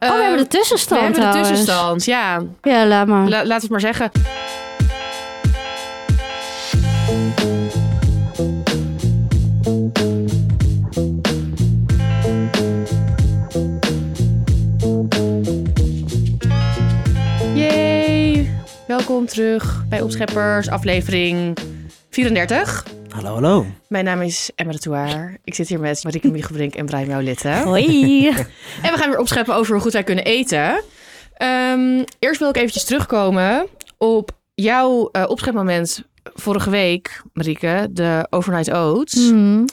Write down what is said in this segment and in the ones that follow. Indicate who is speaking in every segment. Speaker 1: Oh, hebben de tussenstand
Speaker 2: Ehm, We hebben de
Speaker 1: trouwens.
Speaker 2: tussenstand, ja.
Speaker 1: Ja, laat maar.
Speaker 2: La- laten we het maar zeggen. Yay! Welkom terug bij Opscheppers, aflevering 34.
Speaker 3: Hallo, hallo.
Speaker 2: Mijn naam is Emma de Touaar. Ik zit hier met Marike Miegelbrink en Brian Maulette.
Speaker 1: Hoi.
Speaker 2: En we gaan weer opscheppen over hoe goed wij kunnen eten. Ehm, eerst wil ik eventjes terugkomen op jouw eh, opschepmoment vorige week, Marieke, de overnight oats.
Speaker 1: Mhm.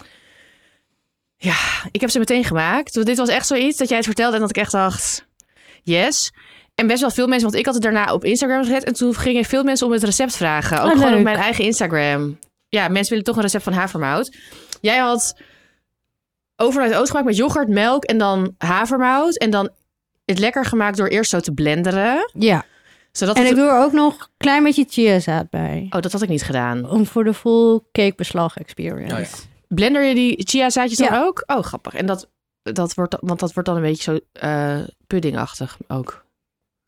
Speaker 2: Ik heb ze meteen gemaakt. Want dit was echt zoiets dat jij het vertelde en dat ik echt dacht, yes. En best wel veel mensen, want ik had het daarna op Instagram gezet. En toen gingen veel mensen om het recept vragen. Ook
Speaker 1: Ah,
Speaker 2: gewoon
Speaker 1: leuk.
Speaker 2: op mijn eigen Instagram. Ja, mensen willen toch een recept van havermout. Jij had overnight oats gemaakt met yoghurt, melk en dan havermout. En dan het lekker gemaakt door eerst zo te blenderen.
Speaker 1: Ja.
Speaker 2: Zodat
Speaker 1: En
Speaker 2: het-
Speaker 1: ik doe er ook nog een klein beetje chiazaad bij.
Speaker 2: Oh, dat had ik niet gedaan.
Speaker 1: Om voor de full cakebeslag experience.
Speaker 3: Oh ja.
Speaker 2: Blender je die chiazaadjes dan
Speaker 1: Ja.
Speaker 2: ook? Oh, grappig. En dat, dat wordt, dan- want dat wordt dan een beetje zo eh, puddingachtig ook.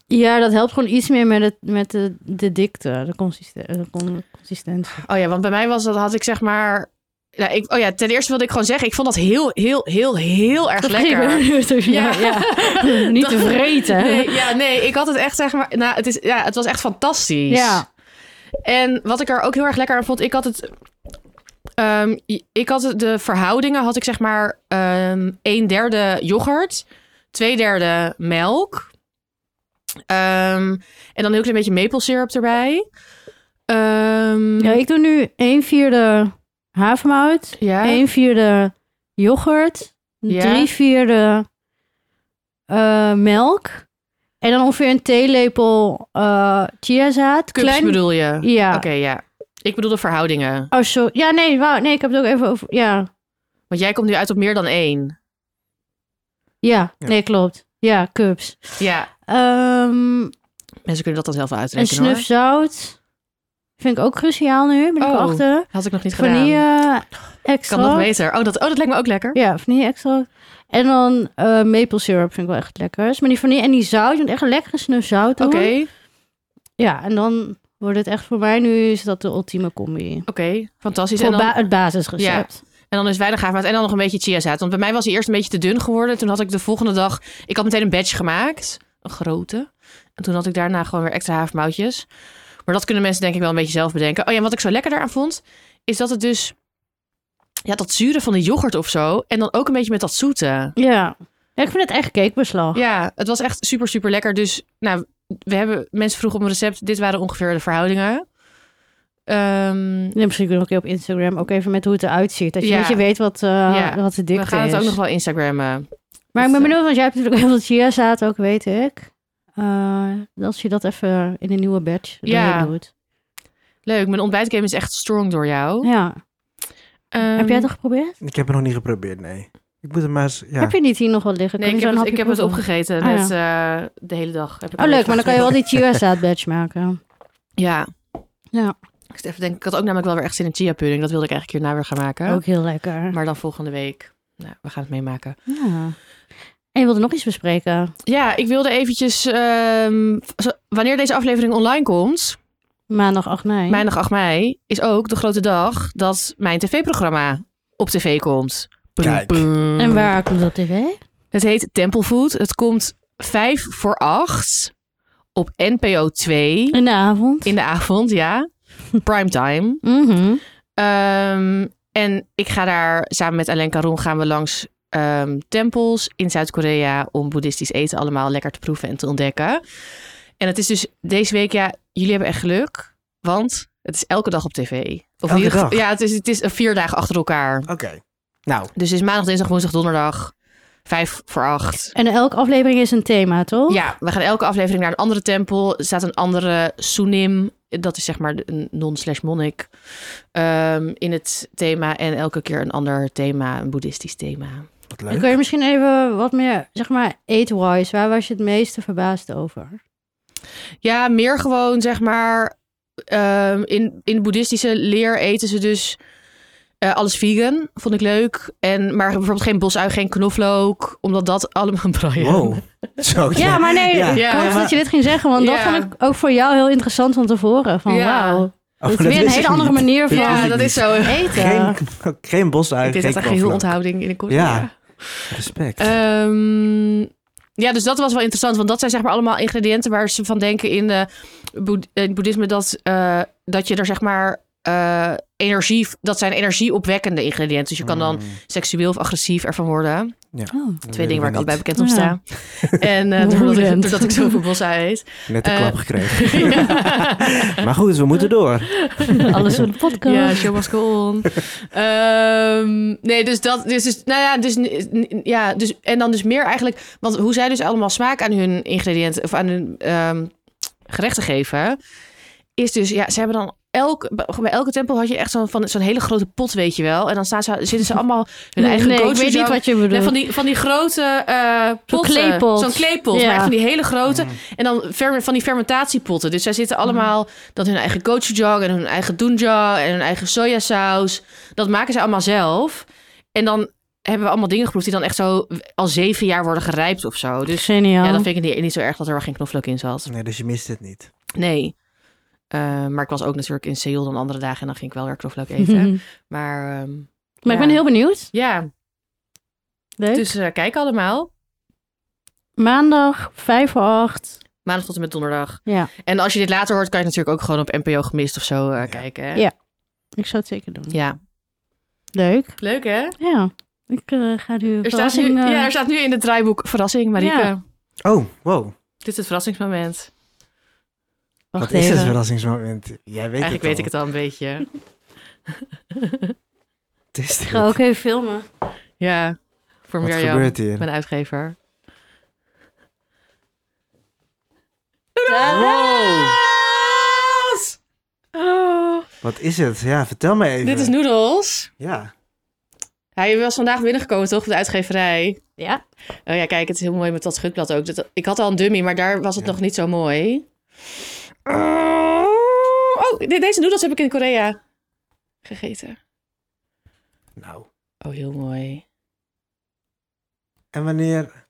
Speaker 1: Ja, dat helpt gewoon iets meer met, het, met de, de dikte, de, consisten- de con- consistentie.
Speaker 2: Oh ja, want bij mij was dat, had ik zeg maar. Nou, ik, oh ja, ten eerste wilde ik gewoon zeggen, ik vond dat heel, heel, heel, heel erg lekker.
Speaker 1: ja, ja. Niet te
Speaker 2: Dat-
Speaker 1: vreten.
Speaker 2: Nee, ja, nee, ik had het echt zeg maar. Nou, het, is, ja, het was echt fantastisch.
Speaker 1: Ja.
Speaker 2: En wat ik er ook heel erg lekker aan vond, ik had het. ehm, ik had het- de verhoudingen, had ik zeg maar ehm een derde yoghurt, twee derde melk. ehm, en dan een heel klein beetje maple syrup erbij. Ehm,
Speaker 1: ja, ik doe nu 1 vierde havermout,
Speaker 2: ja.
Speaker 1: 1 vierde yoghurt,
Speaker 2: Ja.
Speaker 1: 3 vierde eh, melk. En dan ongeveer een theelepel eh chiazaad.
Speaker 2: Cups bedoel je?
Speaker 1: Ja.
Speaker 2: Oké, ja. Ik bedoel de verhoudingen.
Speaker 1: Oh, sorry. Ja, nee, wauw, nee, ik heb het ook even over... Ja,
Speaker 2: Want jij komt nu uit op meer dan één.
Speaker 1: ja,
Speaker 3: Ja.
Speaker 1: nee, klopt. Ja, cups.
Speaker 2: Ja.
Speaker 1: Ehm
Speaker 2: Mensen kunnen dat dan zelf wel
Speaker 1: Een
Speaker 2: uitrekenen
Speaker 1: snuf zout. Vind ik ook cruciaal nu. Ben ik
Speaker 2: Oh,
Speaker 1: achter.
Speaker 2: hoor. Had ik nog niet gedaan.
Speaker 1: Vanille extra.
Speaker 2: Kan nog beter. Oh dat, oh, dat lijkt me ook lekker.
Speaker 1: Ja, vanille extra. En dan eh maple syrup vind ik wel echt lekker. Maar die vanille en die zout. Je moet echt een lekkere snuf zout doen.
Speaker 2: Oké, oké.
Speaker 1: Ja, en dan wordt het echt voor mij nu is dat de ultieme combi.
Speaker 2: Fantastisch.
Speaker 1: Voor
Speaker 2: Dus En dan,
Speaker 1: ba- het basisrecept.
Speaker 2: en dan is weinig havermout en dan nog een beetje chiazaad. Want bij mij was hij eerst een beetje te dun geworden. Toen had ik de volgende dag... Ik had meteen een batch gemaakt. Een grote. En toen had ik daarna gewoon weer extra havermoutjes. Maar dat kunnen mensen denk ik wel een beetje zelf bedenken. Oh ja, en wat ik zo lekker daaraan vond... is dat het dus... Ja, dat zure van de yoghurt of zo. En dan ook een beetje met dat zoete.
Speaker 1: Ja. Ja, ik vind het echt cakebeslag.
Speaker 2: Ja, het was echt super, super lekker. Dus nou, we hebben, mensen vroegen om een recept. Dit waren ongeveer de verhoudingen. Ehm,
Speaker 1: En misschien kunnen we ook op Instagram ook even met hoe het eruit ziet. Dat je
Speaker 2: Ja.
Speaker 1: een beetje weet wat, eh
Speaker 2: Ja.
Speaker 1: wat de dikte
Speaker 2: we gaan
Speaker 1: is.
Speaker 2: het ook nog wel Instagrammen.
Speaker 1: Maar
Speaker 2: Dus,
Speaker 1: ik ben
Speaker 2: eh,
Speaker 1: benieuwd, want jij hebt natuurlijk heel veel chiazaad ook, weet ik. Eh, als je dat even in een nieuwe batch
Speaker 2: Ja.
Speaker 1: ja. doet.
Speaker 2: Leuk, mijn ontbijtgame is echt strong door jou.
Speaker 1: Ja.
Speaker 2: Ehm,
Speaker 1: heb jij het al geprobeerd?
Speaker 3: Ik heb het nog niet geprobeerd, nee. Ik moet hem maar eens... Ja.
Speaker 1: Heb je niet hier nog wat liggen?
Speaker 2: Nee, ik
Speaker 1: Kunnen
Speaker 2: heb,
Speaker 1: we
Speaker 2: het,
Speaker 1: zo'n
Speaker 2: ik heb het
Speaker 1: hapje
Speaker 2: opgegeten
Speaker 1: Ah,
Speaker 2: net, eh, de hele dag. Heb ik
Speaker 1: proeven? Oh,
Speaker 2: een
Speaker 1: leuk, maar dan kan je wel
Speaker 2: beetje
Speaker 1: die chiazaad batch maken.
Speaker 2: Ja.
Speaker 1: Ja.
Speaker 2: Ik, zit even te denken, ik had ook namelijk wel weer echt zin in chia pudding. Dat wilde ik eigenlijk hierna weer gaan maken.
Speaker 1: Ook heel lekker.
Speaker 2: Maar dan volgende week. Nou, we gaan het meemaken.
Speaker 1: Ja. En je wilde nog iets bespreken.
Speaker 2: Ja, ik wilde eventjes... ehm, zo- wanneer deze aflevering online komt...
Speaker 1: Maandag 8 mei.
Speaker 2: Maandag 8 mei is ook de grote dag dat mijn tv-programma op tv komt. Boem,
Speaker 3: Kijk.
Speaker 2: boem.
Speaker 1: En waar komt dat tv?
Speaker 2: Het heet Tempelfood. Het komt 5 voor 8 op NPO 2
Speaker 1: In de avond.
Speaker 2: in de avond, ja. Primetime.
Speaker 1: Mhm.
Speaker 2: Ehm, en ik ga daar samen met Alain Caron gaan we langs ehm, tempels in Zuid-Korea om boeddhistisch eten allemaal lekker te proeven en te ontdekken. En het is dus deze week, ja, jullie hebben echt geluk, want het is elke dag op tv. Of in
Speaker 3: Elke
Speaker 2: ieder geval-
Speaker 3: dag?
Speaker 2: Ja, het is, het is vier dagen achter elkaar.
Speaker 3: Oké. Nou,
Speaker 2: Dus het is maandag, dinsdag, woensdag, donderdag, vijf voor acht.
Speaker 1: En elke aflevering is een thema, toch?
Speaker 2: Ja, we gaan elke aflevering naar een andere tempel. Er staat een andere sunim. Dat is zeg maar een non-slash monnik. ehm, in het thema. En elke keer een ander thema. Een boeddhistisch thema.
Speaker 3: wat
Speaker 1: Dan
Speaker 3: leuk.
Speaker 1: kun je misschien even wat meer, zeg maar, eat-wise. Waar was je het meeste verbaasd over?
Speaker 2: Ja, meer gewoon zeg maar. ehm, in, in boeddhistische leer eten ze dus Eh, alles vegan, vond ik leuk. En, maar bijvoorbeeld geen bosui, geen knoflook. Omdat dat allemaal... Brian.
Speaker 3: Wow. Zo,
Speaker 1: Ja, maar nee,
Speaker 3: Ja.
Speaker 1: ik
Speaker 2: Ja,
Speaker 1: hoopte
Speaker 3: maar-
Speaker 1: dat je dit ging zeggen, want dat
Speaker 2: Ja.
Speaker 1: vond ik ook voor jou heel interessant om te horen. Van
Speaker 2: Ja.
Speaker 1: wauw,
Speaker 3: Oh,
Speaker 1: dat is
Speaker 3: dat
Speaker 1: weer een
Speaker 3: wist ik
Speaker 1: hele andere
Speaker 3: niet.
Speaker 1: manier eh, van
Speaker 3: Ja,
Speaker 2: Ja,
Speaker 3: ik
Speaker 2: dat
Speaker 3: niet.
Speaker 2: is zo. Ik
Speaker 1: eten.
Speaker 3: Geen, geen bos uit,
Speaker 2: deed
Speaker 3: geen
Speaker 2: echt echt heel Eh,
Speaker 3: knoflook.
Speaker 2: onthouding in de kort.
Speaker 3: Ja. Respect.
Speaker 2: Ehm, ja, dus dat was wel interessant. Want dat zijn zeg maar allemaal ingrediënten waar ze van denken in eh, boed- eh, het boeddhisme. Dat, eh, dat je er zeg maar eh, energie... Dat zijn energieopwekkende ingrediënten. Dus je kan dan
Speaker 3: Mm,
Speaker 2: seksueel of agressief ervan worden.
Speaker 1: Oh.
Speaker 3: dat
Speaker 2: Twee
Speaker 3: weten we
Speaker 2: dingen waar ik altijd
Speaker 3: niet.
Speaker 2: bij bekend om
Speaker 1: Ja.
Speaker 2: sta. En eh doordat, ik,
Speaker 1: Woedend.
Speaker 2: doordat ik zoveel bosai eet.
Speaker 3: Net een
Speaker 2: Eh,
Speaker 3: klap gekregen. maar goed, we moeten door.
Speaker 1: Oh, Alles voor de podcast.
Speaker 2: Ja, show must go on. Ehm, nee, dus dat, dus, dus, nou ja, dus, n- n- ja, dus, en dan dus meer eigenlijk, want hoe zij dus allemaal smaak aan hun ingrediënten, of aan hun ehm, gerechten geven, is dus, ja, ze hebben dan elk, bij elke tempel had je echt zo'n, van, zo'n hele grote pot, weet je wel. En dan staan ze, zitten ze allemaal hun
Speaker 1: nee,
Speaker 2: eigen
Speaker 1: nee, ik
Speaker 2: gochujang-
Speaker 1: weet niet wat je
Speaker 2: Nee,
Speaker 1: bedoelt.
Speaker 2: van, die, van die grote eh potten.
Speaker 1: kleepot.
Speaker 2: Zo'n kleepot,
Speaker 1: Ja.
Speaker 2: maar echt van die hele
Speaker 3: Mm.
Speaker 2: grote. En dan ver- van die fermentatiepotten. Dus zij zitten allemaal dat hun eigen gochujang en hun eigen doenjang en hun eigen sojasaus. Dat maken ze allemaal zelf. En dan hebben we allemaal dingen geproefd die dan echt zo al zeven jaar worden gerijpt of zo. Dus
Speaker 1: Geniaal.
Speaker 2: ja, dan vind ik het niet, niet zo erg dat er wel geen knoflook in zat.
Speaker 3: Nee, dus je mist het niet.
Speaker 2: Nee. Eh, maar ik was ook natuurlijk in Seoul dan andere dagen en dan ging ik wel weer knoflook eten.
Speaker 1: Mhm.
Speaker 2: maar ehm,
Speaker 1: Maar
Speaker 2: Ja.
Speaker 1: ik ben heel benieuwd.
Speaker 2: ja,
Speaker 1: Leuk.
Speaker 2: dus eh, kijk allemaal.
Speaker 1: Maandag, vijf voor acht.
Speaker 2: Maandag tot en met donderdag.
Speaker 1: Ja,
Speaker 2: En als je dit later hoort, kan je het natuurlijk ook gewoon op NPO gemist of zo eh, kijken. Hè?
Speaker 1: Ja. ik zou het zeker doen.
Speaker 2: Ja.
Speaker 1: Leuk.
Speaker 2: Leuk hè?
Speaker 1: Ja, ik eh, ga nu eh,
Speaker 2: Er staat, nu, ja, er staat nu in het draaiboek verrassing, Marieke.
Speaker 1: Ja.
Speaker 3: Oh, wow.
Speaker 2: Dit is het verrassingsmoment.
Speaker 3: Wat is het verrassingsmoment? Jij weet
Speaker 2: Eigenlijk
Speaker 3: het
Speaker 2: weet ik het al een beetje.
Speaker 3: Het is dit.
Speaker 2: Oh.
Speaker 1: Ik ga ook even filmen.
Speaker 2: Ja. Voor
Speaker 3: Wat
Speaker 2: Mirjam,
Speaker 3: gebeurt hier?
Speaker 2: mijn uitgever.
Speaker 3: Wow.
Speaker 2: Noedels! Oh,
Speaker 3: Wat is het? Ja, vertel me even.
Speaker 2: dit is Noedels.
Speaker 3: Ja.
Speaker 2: Hij was vandaag binnengekomen, toch? Op de uitgeverij.
Speaker 1: Ja.
Speaker 2: Oh ja, kijk, het is heel mooi met dat schutblad ook. Dat- Ik had al een dummy, maar daar was het
Speaker 3: Ja.
Speaker 2: nog niet zo mooi. Oh, de- deze noedels heb ik in Korea gegeten.
Speaker 3: Nou.
Speaker 2: Oh, heel mooi.
Speaker 3: En wanneer?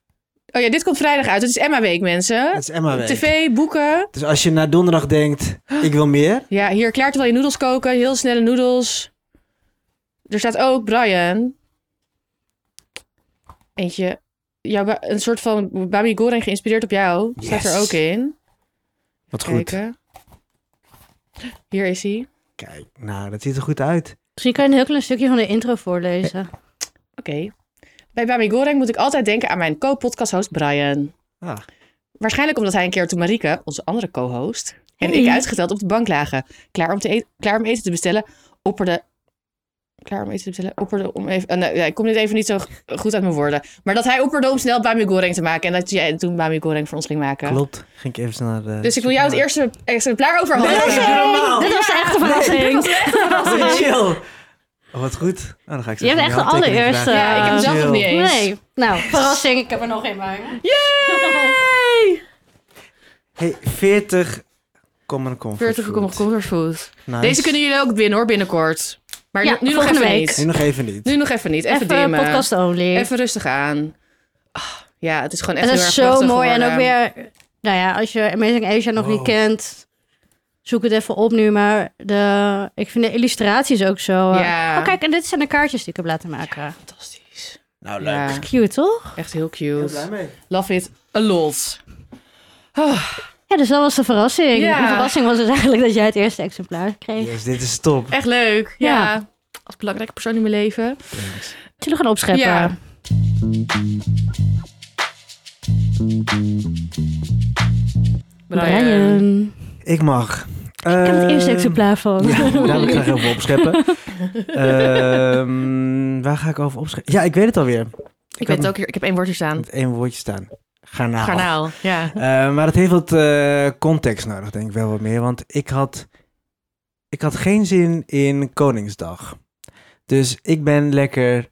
Speaker 2: Oh ja, dit komt vrijdag uit. Het is Emma Week, mensen.
Speaker 3: Het is Emma week.
Speaker 2: Eh, TV, boeken.
Speaker 3: Dus als je na donderdag denkt, ik wil meer.
Speaker 2: Ja, hier klaar terwijl je noedels koken. Heel snelle noedels. Er staat ook Brian. Eentje. Jouw ba- een soort van Babi Goreng geïnspireerd op jou. Staat er
Speaker 3: Yes.
Speaker 2: ook in.
Speaker 3: Wat
Speaker 2: Kijken. Hier is hij.
Speaker 3: Kijk, nou, dat ziet er goed uit.
Speaker 1: Misschien kan je een heel klein stukje van de intro voorlezen.
Speaker 2: Oké. Bij Bami Goreng moet ik altijd denken aan mijn co-podcasthost Brian.
Speaker 3: Ah,
Speaker 2: Waarschijnlijk omdat hij een keer toen Marieke, onze andere co-host, en
Speaker 1: Hey.
Speaker 2: ik uitgeteld op de bank lagen, klaar om, te e- klaar om eten te bestellen, opperde... Klaar om eten te bestellen, opperde om even... eh, nee, ja, ik kom dit even niet zo g- goed uit mijn woorden. Maar dat hij opperde om snel Bami Goreng te maken en dat jij toen Bami Goreng voor ons ging maken.
Speaker 3: klopt. Ging ik even naar eh, de...
Speaker 2: Dus ik wil jou het eerste exemplaar overhandigen.
Speaker 3: Nee, doe normaal.
Speaker 1: Dit was de echte verrassing.
Speaker 3: Oh, chill. Oh, wat goed. Nou, dan ga ik zo
Speaker 1: Je hebt
Speaker 3: van
Speaker 1: echt
Speaker 3: jou
Speaker 1: de
Speaker 3: een tekening
Speaker 1: allereerste.
Speaker 2: Ja,
Speaker 3: vragen.
Speaker 2: ik heb hem zelf nog niet eens.
Speaker 1: Nee. Nou, verrassing. Ik heb er nog één bij. me.
Speaker 2: Yay!
Speaker 3: Hey, 40 common comfort
Speaker 2: 40
Speaker 3: food.
Speaker 2: comfort food.
Speaker 3: Nice.
Speaker 2: Deze kunnen jullie ook binnen hoor, binnenkort. Maar
Speaker 1: Ja,
Speaker 2: nu- nu nog
Speaker 1: volgende
Speaker 2: even
Speaker 1: week.
Speaker 2: niet.
Speaker 3: Nu nog even niet.
Speaker 2: Nu nog even niet. Even,
Speaker 1: Even
Speaker 2: dimmen.
Speaker 1: podcast only.
Speaker 2: Even rustig aan. Ah, ja, het is gewoon echt
Speaker 1: het
Speaker 2: heel
Speaker 1: is
Speaker 2: erg
Speaker 1: zo
Speaker 2: prachtig
Speaker 1: mooi. En ook
Speaker 2: geworden.
Speaker 1: weer, nou ja, als je Amazing Asia nog
Speaker 3: Wow.
Speaker 1: niet kent, zoek het even op nu. Maar de, ik vind de illustraties ook zo. eh,
Speaker 2: Ja.
Speaker 1: Oh, kijk, en dit zijn de kaartjes die ik heb laten maken.
Speaker 2: Fantastisch.
Speaker 3: Nou, leuk.
Speaker 2: Ja,
Speaker 1: Cute, toch?
Speaker 2: Oh, echt heel
Speaker 3: Ik ben
Speaker 2: cute.
Speaker 3: blij mee.
Speaker 2: Love it a lot.
Speaker 1: Ja, dus dat was de verrassing.
Speaker 2: Ja.
Speaker 1: De verrassing was dus eigenlijk dat jij het eerste exemplaar kreeg.
Speaker 3: Yes, dit is top.
Speaker 2: Echt leuk. Ja.
Speaker 1: Ja.
Speaker 2: Als belangrijke persoon in mijn leven.
Speaker 1: Zullen we gaan opscheppen?
Speaker 2: Ja.
Speaker 1: Brian.
Speaker 3: Ik mag.
Speaker 1: Ik heb het eerste
Speaker 3: Ehm,
Speaker 1: exemplaar van.
Speaker 3: Ja, daar wil ik graag even opscheppen. Ehm, waar ga ik over opscheppen? Ja, ik weet het alweer.
Speaker 2: Ik, weet het ook hier. Ik heb één woordje staan.
Speaker 3: Met één woordje staan. Garnaal.
Speaker 2: Garnaal. Ja.
Speaker 3: Eh, maar het heeft wat eh, context nodig, denk ik wel wat meer. Want ik had, ik had geen zin in Koningsdag. Dus ik ben lekker...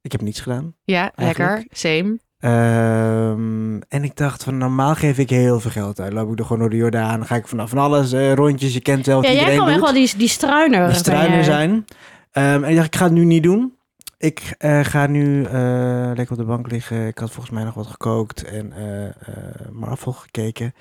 Speaker 3: Ik heb niets gedaan.
Speaker 2: Ja, lekker.
Speaker 3: Eigenlijk.
Speaker 2: Same.
Speaker 3: Ehm, en ik dacht van normaal geef ik heel veel geld uit. Loop ik er gewoon door de Jordaan, ga ik vanaf van alles, eh, rondjes, je kent wel wat
Speaker 1: Ja, jij
Speaker 3: iedereen
Speaker 1: kan
Speaker 3: doet.
Speaker 1: echt wel die, die struiner.
Speaker 3: De struinen zijn. Ehm, en ik dacht, ik ga het nu niet doen. Ik eh, ga nu eh, lekker op de bank liggen. Ik had volgens mij nog wat gekookt en eh, eh, Marvel gekeken.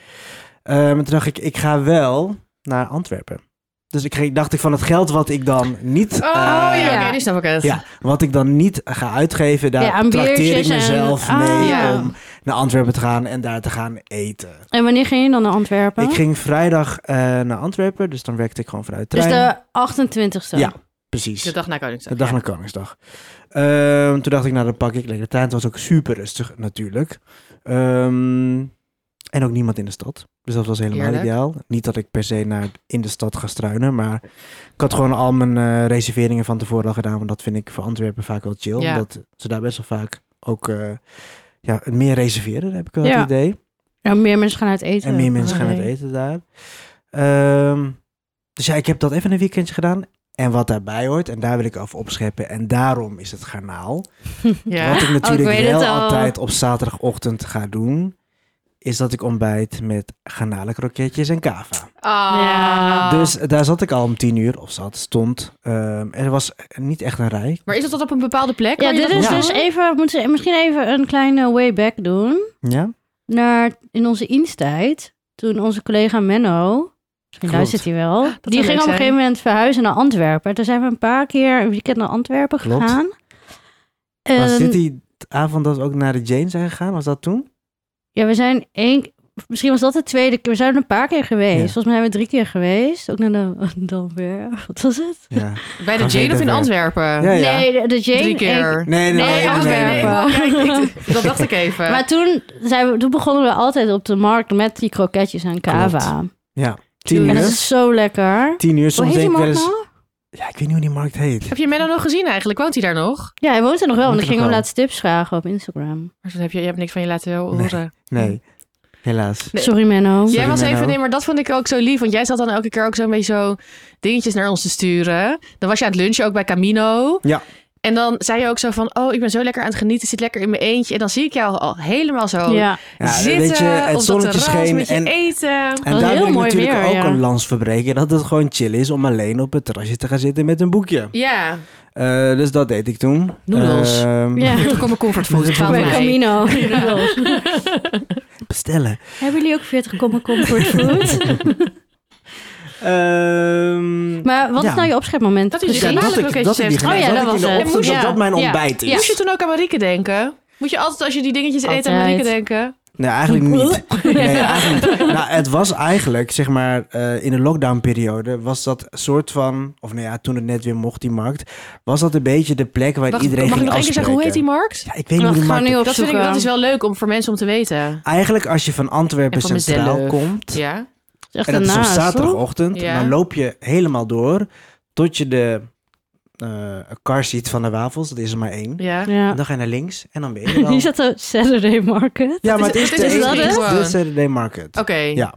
Speaker 3: Ehm, en toen dacht ik, ik ga wel naar Antwerpen. Dus ik kreeg- dacht ik van het geld wat ik dan niet...
Speaker 2: Oh ja,
Speaker 3: eh,
Speaker 2: oké,
Speaker 1: ja.
Speaker 2: nu snap ik het.
Speaker 3: ja, wat ik dan niet ga uitgeven, daar
Speaker 1: Ja, aan
Speaker 3: trakteer ik
Speaker 1: biertjes en-
Speaker 3: mezelf
Speaker 1: Ah,
Speaker 3: mee
Speaker 2: ja.
Speaker 3: om naar Antwerpen te gaan en daar te gaan eten.
Speaker 1: En wanneer ging je dan naar Antwerpen?
Speaker 3: Ik ging vrijdag eh, naar Antwerpen, dus dan werkte ik gewoon vanuit de
Speaker 1: dus
Speaker 3: trein.
Speaker 1: de 28e.
Speaker 3: Ja. Precies.
Speaker 2: De dag na Koningsdag.
Speaker 3: De dag
Speaker 2: ja.
Speaker 3: na Koningsdag. Ehm, toen dacht ik, nou dan pak ik lekker de trein. Het was ook super rustig natuurlijk. Ehm, en ook niemand in de stad. Dus dat was helemaal
Speaker 2: Heerlijk.
Speaker 3: ideaal. Niet dat ik per se naar in de stad ga struinen, maar ik had gewoon al mijn eh, reserveringen van tevoren al gedaan. Want dat vind ik voor Antwerpen vaak wel chill.
Speaker 2: Ja.
Speaker 3: Omdat ze daar best wel vaak ook eh, ja, meer reserveren, heb ik wel
Speaker 1: Ja.
Speaker 3: het idee.
Speaker 1: En meer mensen gaan uit eten.
Speaker 3: En meer mensen gaan
Speaker 1: Oh,
Speaker 3: het
Speaker 1: nee.
Speaker 3: eten daar. Ehm, dus ja, ik heb dat even een weekendje gedaan. En wat daarbij hoort, en daar wil ik af opscheppen. En daarom is het garnaal.
Speaker 2: Ja.
Speaker 3: Wat ik natuurlijk
Speaker 1: Oh, weet het
Speaker 3: wel
Speaker 1: al.
Speaker 3: altijd op zaterdagochtend ga doen, is dat ik ontbijt met garnalenkroketjes en kava.
Speaker 2: Ah.
Speaker 1: Ja.
Speaker 3: Dus daar zat ik al om tien uur, of zat, stond. Ehm, er was niet echt een rij.
Speaker 2: Maar is dat tot op een bepaalde plek?
Speaker 1: Ja,
Speaker 2: waar je
Speaker 1: dit
Speaker 2: dat
Speaker 1: is
Speaker 2: moet
Speaker 1: dus
Speaker 2: doen?
Speaker 1: even, we moeten misschien even een kleine way back doen.
Speaker 3: Ja?
Speaker 1: Naar in onze instijd, toen onze collega Menno, misschien
Speaker 3: Klopt.
Speaker 1: luistert hij wel, die
Speaker 2: leuk
Speaker 1: ging op een
Speaker 2: zijn.
Speaker 1: gegeven moment verhuizen naar Antwerpen. Toen zijn we een paar keer een weekend naar Antwerpen
Speaker 3: Klopt.
Speaker 1: gegaan.
Speaker 3: Was
Speaker 1: En-
Speaker 3: dit die avond dat we ook naar de Jane zijn gegaan? Was dat toen?
Speaker 1: Ja, we zijn één. Misschien was dat de tweede keer. We zijn er een paar keer geweest.
Speaker 3: Ja.
Speaker 1: Volgens mij zijn we drie keer geweest. Ook naar de dan weer. Wat was het?
Speaker 3: Ja.
Speaker 2: Bij de
Speaker 3: Gaan we
Speaker 2: Jane of in
Speaker 3: verder.
Speaker 2: Antwerpen?
Speaker 3: Ja, ja.
Speaker 1: Nee, de, de Jane.
Speaker 2: Drie
Speaker 1: ik-
Speaker 2: keer.
Speaker 1: Nee,
Speaker 3: Nee, nee, nee. nee, nee, nee.
Speaker 1: Antwerpen.
Speaker 2: Ja, ik- ik- dat dacht ik even.
Speaker 3: Eh.
Speaker 1: maar toen, zijn we, toen begonnen we altijd op de markt met die kroketjes en kava.
Speaker 3: Ja, tien
Speaker 1: En dat
Speaker 3: uur.
Speaker 1: is zo lekker.
Speaker 3: Tien uur,
Speaker 1: Hoe
Speaker 3: soms
Speaker 1: heet die
Speaker 3: denk ik wel
Speaker 1: markt
Speaker 3: eens...
Speaker 1: nou?
Speaker 3: Ja, ik weet niet hoe die markt heet.
Speaker 2: Heb je Menno nog gezien eigenlijk? Woont hij daar nog?
Speaker 1: Ja, hij woont er nog wel.
Speaker 3: Woont
Speaker 1: Want
Speaker 3: er
Speaker 1: ik ging
Speaker 3: nog
Speaker 1: hem
Speaker 3: wel.
Speaker 1: laatst tips vragen op Instagram.
Speaker 2: Maar toen heb je, je hebt niks van je laten horen.
Speaker 3: Nee, helaas.
Speaker 2: Nee.
Speaker 1: Sorry Menno.
Speaker 2: Jij was
Speaker 3: Menno.
Speaker 2: even, nee, maar dat vond ik ook zo lief. Want jij zat dan elke keer ook zo'n beetje zo dingetjes naar ons te sturen. Dan was je aan het lunchen ook bij Camino.
Speaker 3: Ja.
Speaker 2: En dan zei je ook zo van, oh, ik ben zo lekker aan het genieten. Zit lekker in mijn eentje. En dan zie ik jou al helemaal zo
Speaker 1: Ja.
Speaker 3: Ja,
Speaker 2: zitten.
Speaker 3: weet je,
Speaker 2: op
Speaker 3: het
Speaker 2: dat
Speaker 3: zonnetje
Speaker 2: terras
Speaker 3: scheen
Speaker 2: met je
Speaker 3: en-
Speaker 2: eten.
Speaker 1: was
Speaker 3: En daar
Speaker 1: Oh, heel
Speaker 3: wil ik
Speaker 1: mooi
Speaker 3: natuurlijk
Speaker 1: weer,
Speaker 3: ook
Speaker 1: ja.
Speaker 3: een lans verbreken. Dat het gewoon chill is om alleen op het terrasje te gaan zitten met een boekje.
Speaker 2: Ja.
Speaker 3: Eh, dus dat deed ik toen.
Speaker 2: Noedels.
Speaker 3: Ehm,
Speaker 1: Ja.
Speaker 2: Terug op mijn comfortfood.
Speaker 3: Bij
Speaker 2: Het gaat
Speaker 1: Bij
Speaker 2: mij.
Speaker 1: Camino.
Speaker 3: Bestellen.
Speaker 1: Hebben jullie ook 40 komma comfort food?
Speaker 3: Ehm,
Speaker 1: maar wat
Speaker 3: Ja.
Speaker 1: is nou je opschepmoment?
Speaker 2: Dat is
Speaker 3: dus ja,
Speaker 2: die
Speaker 1: precies?
Speaker 3: dat,
Speaker 2: garnalenkroketjes
Speaker 3: ik, dat, ik die
Speaker 2: heeft-
Speaker 1: Oh ja,
Speaker 3: garnalen-
Speaker 1: dat
Speaker 3: dat ik in
Speaker 1: was het.
Speaker 3: de ochtend,
Speaker 1: Ja.
Speaker 3: dat dat mijn
Speaker 1: Ja.
Speaker 3: ontbijt is.
Speaker 2: Moest je toen ook aan Marieke denken? Moet je altijd als je die dingetjes eet aan
Speaker 1: Altijd.
Speaker 2: Marieke denken?
Speaker 3: Nee, eigenlijk niet. Nee, eigenlijk niet. Nou, het was eigenlijk, zeg maar, eh, in de lockdownperiode was dat soort van... Of nou ja, toen het net weer mocht, die markt... Was dat een beetje de plek waar
Speaker 2: Wacht,
Speaker 3: iedereen
Speaker 2: mag ik
Speaker 3: ging
Speaker 2: nog één keer zeggen, hoe heet die
Speaker 3: afspreken.
Speaker 2: markt?
Speaker 3: Ja, ik weet niet hoe die
Speaker 1: gaan
Speaker 3: markt...
Speaker 1: nu
Speaker 2: Dat, vind ik,
Speaker 1: opzoeken.
Speaker 2: dat is wel leuk om voor mensen om te weten.
Speaker 3: Eigenlijk als je van Antwerpen
Speaker 2: En van
Speaker 3: Centraal
Speaker 2: mezelf.
Speaker 3: komt...
Speaker 2: Ja.
Speaker 1: Echt
Speaker 3: en dat is op
Speaker 1: ernaast, hoor.
Speaker 3: zaterdagochtend.
Speaker 2: Ja.
Speaker 3: Dan loop je helemaal door tot je de eh car ziet van de wafels. Dat is er maar één.
Speaker 2: ja.
Speaker 1: Ja.
Speaker 3: En dan ga je naar links en dan ben je er al.
Speaker 1: Hier zat de Saturday Market.
Speaker 3: Ja, maar
Speaker 2: Het
Speaker 3: het
Speaker 2: is-
Speaker 3: is,
Speaker 2: het is Oh.
Speaker 3: de-
Speaker 1: dus
Speaker 3: het is
Speaker 2: gewoon.
Speaker 3: de Saturday Market.
Speaker 2: Oké.
Speaker 3: Ja.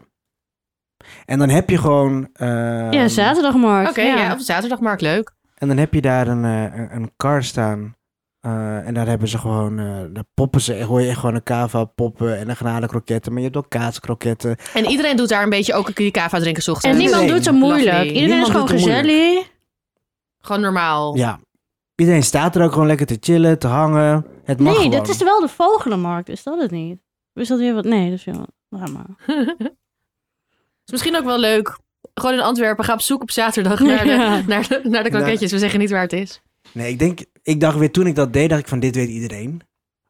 Speaker 3: En dan heb je gewoon... eh,
Speaker 1: ja, zaterdagmarkt.
Speaker 2: Oké, ja.
Speaker 1: ja.
Speaker 2: op zaterdagmarkt, leuk.
Speaker 3: En dan heb je daar een, eh, een- een car staan. eh, en daar hebben ze gewoon... eh, daar poppen ze. Hoor je echt gewoon een kava poppen en een granadenkroketten. Maar je hebt ook kaaskroketten.
Speaker 2: En iedereen doet daar een beetje ook die kava drinken 's ochtends.
Speaker 1: En niemand
Speaker 3: Iedereen.
Speaker 1: doet zo moeilijk.
Speaker 2: Lovely.
Speaker 1: Iedereen
Speaker 3: Niemand
Speaker 1: is gewoon
Speaker 3: doet zo moeilijk.
Speaker 1: gezellig.
Speaker 2: Gewoon normaal.
Speaker 3: Ja. Iedereen staat er ook gewoon lekker te chillen, te hangen. Het mag
Speaker 1: Nee,
Speaker 3: gewoon.
Speaker 1: dat is wel de Vogelenmarkt, is dat het niet? Of is dat weer wat? Nee, dat is weer wat. laat maar.
Speaker 2: Is misschien ook wel leuk. Gewoon in Antwerpen, ga op zoek op zaterdag naar de,
Speaker 1: Ja.
Speaker 2: naar de, naar de kroketjes. We zeggen niet waar het is.
Speaker 3: Nee, ik denk, ik dacht weer toen ik dat deed, dacht ik van dit weet iedereen.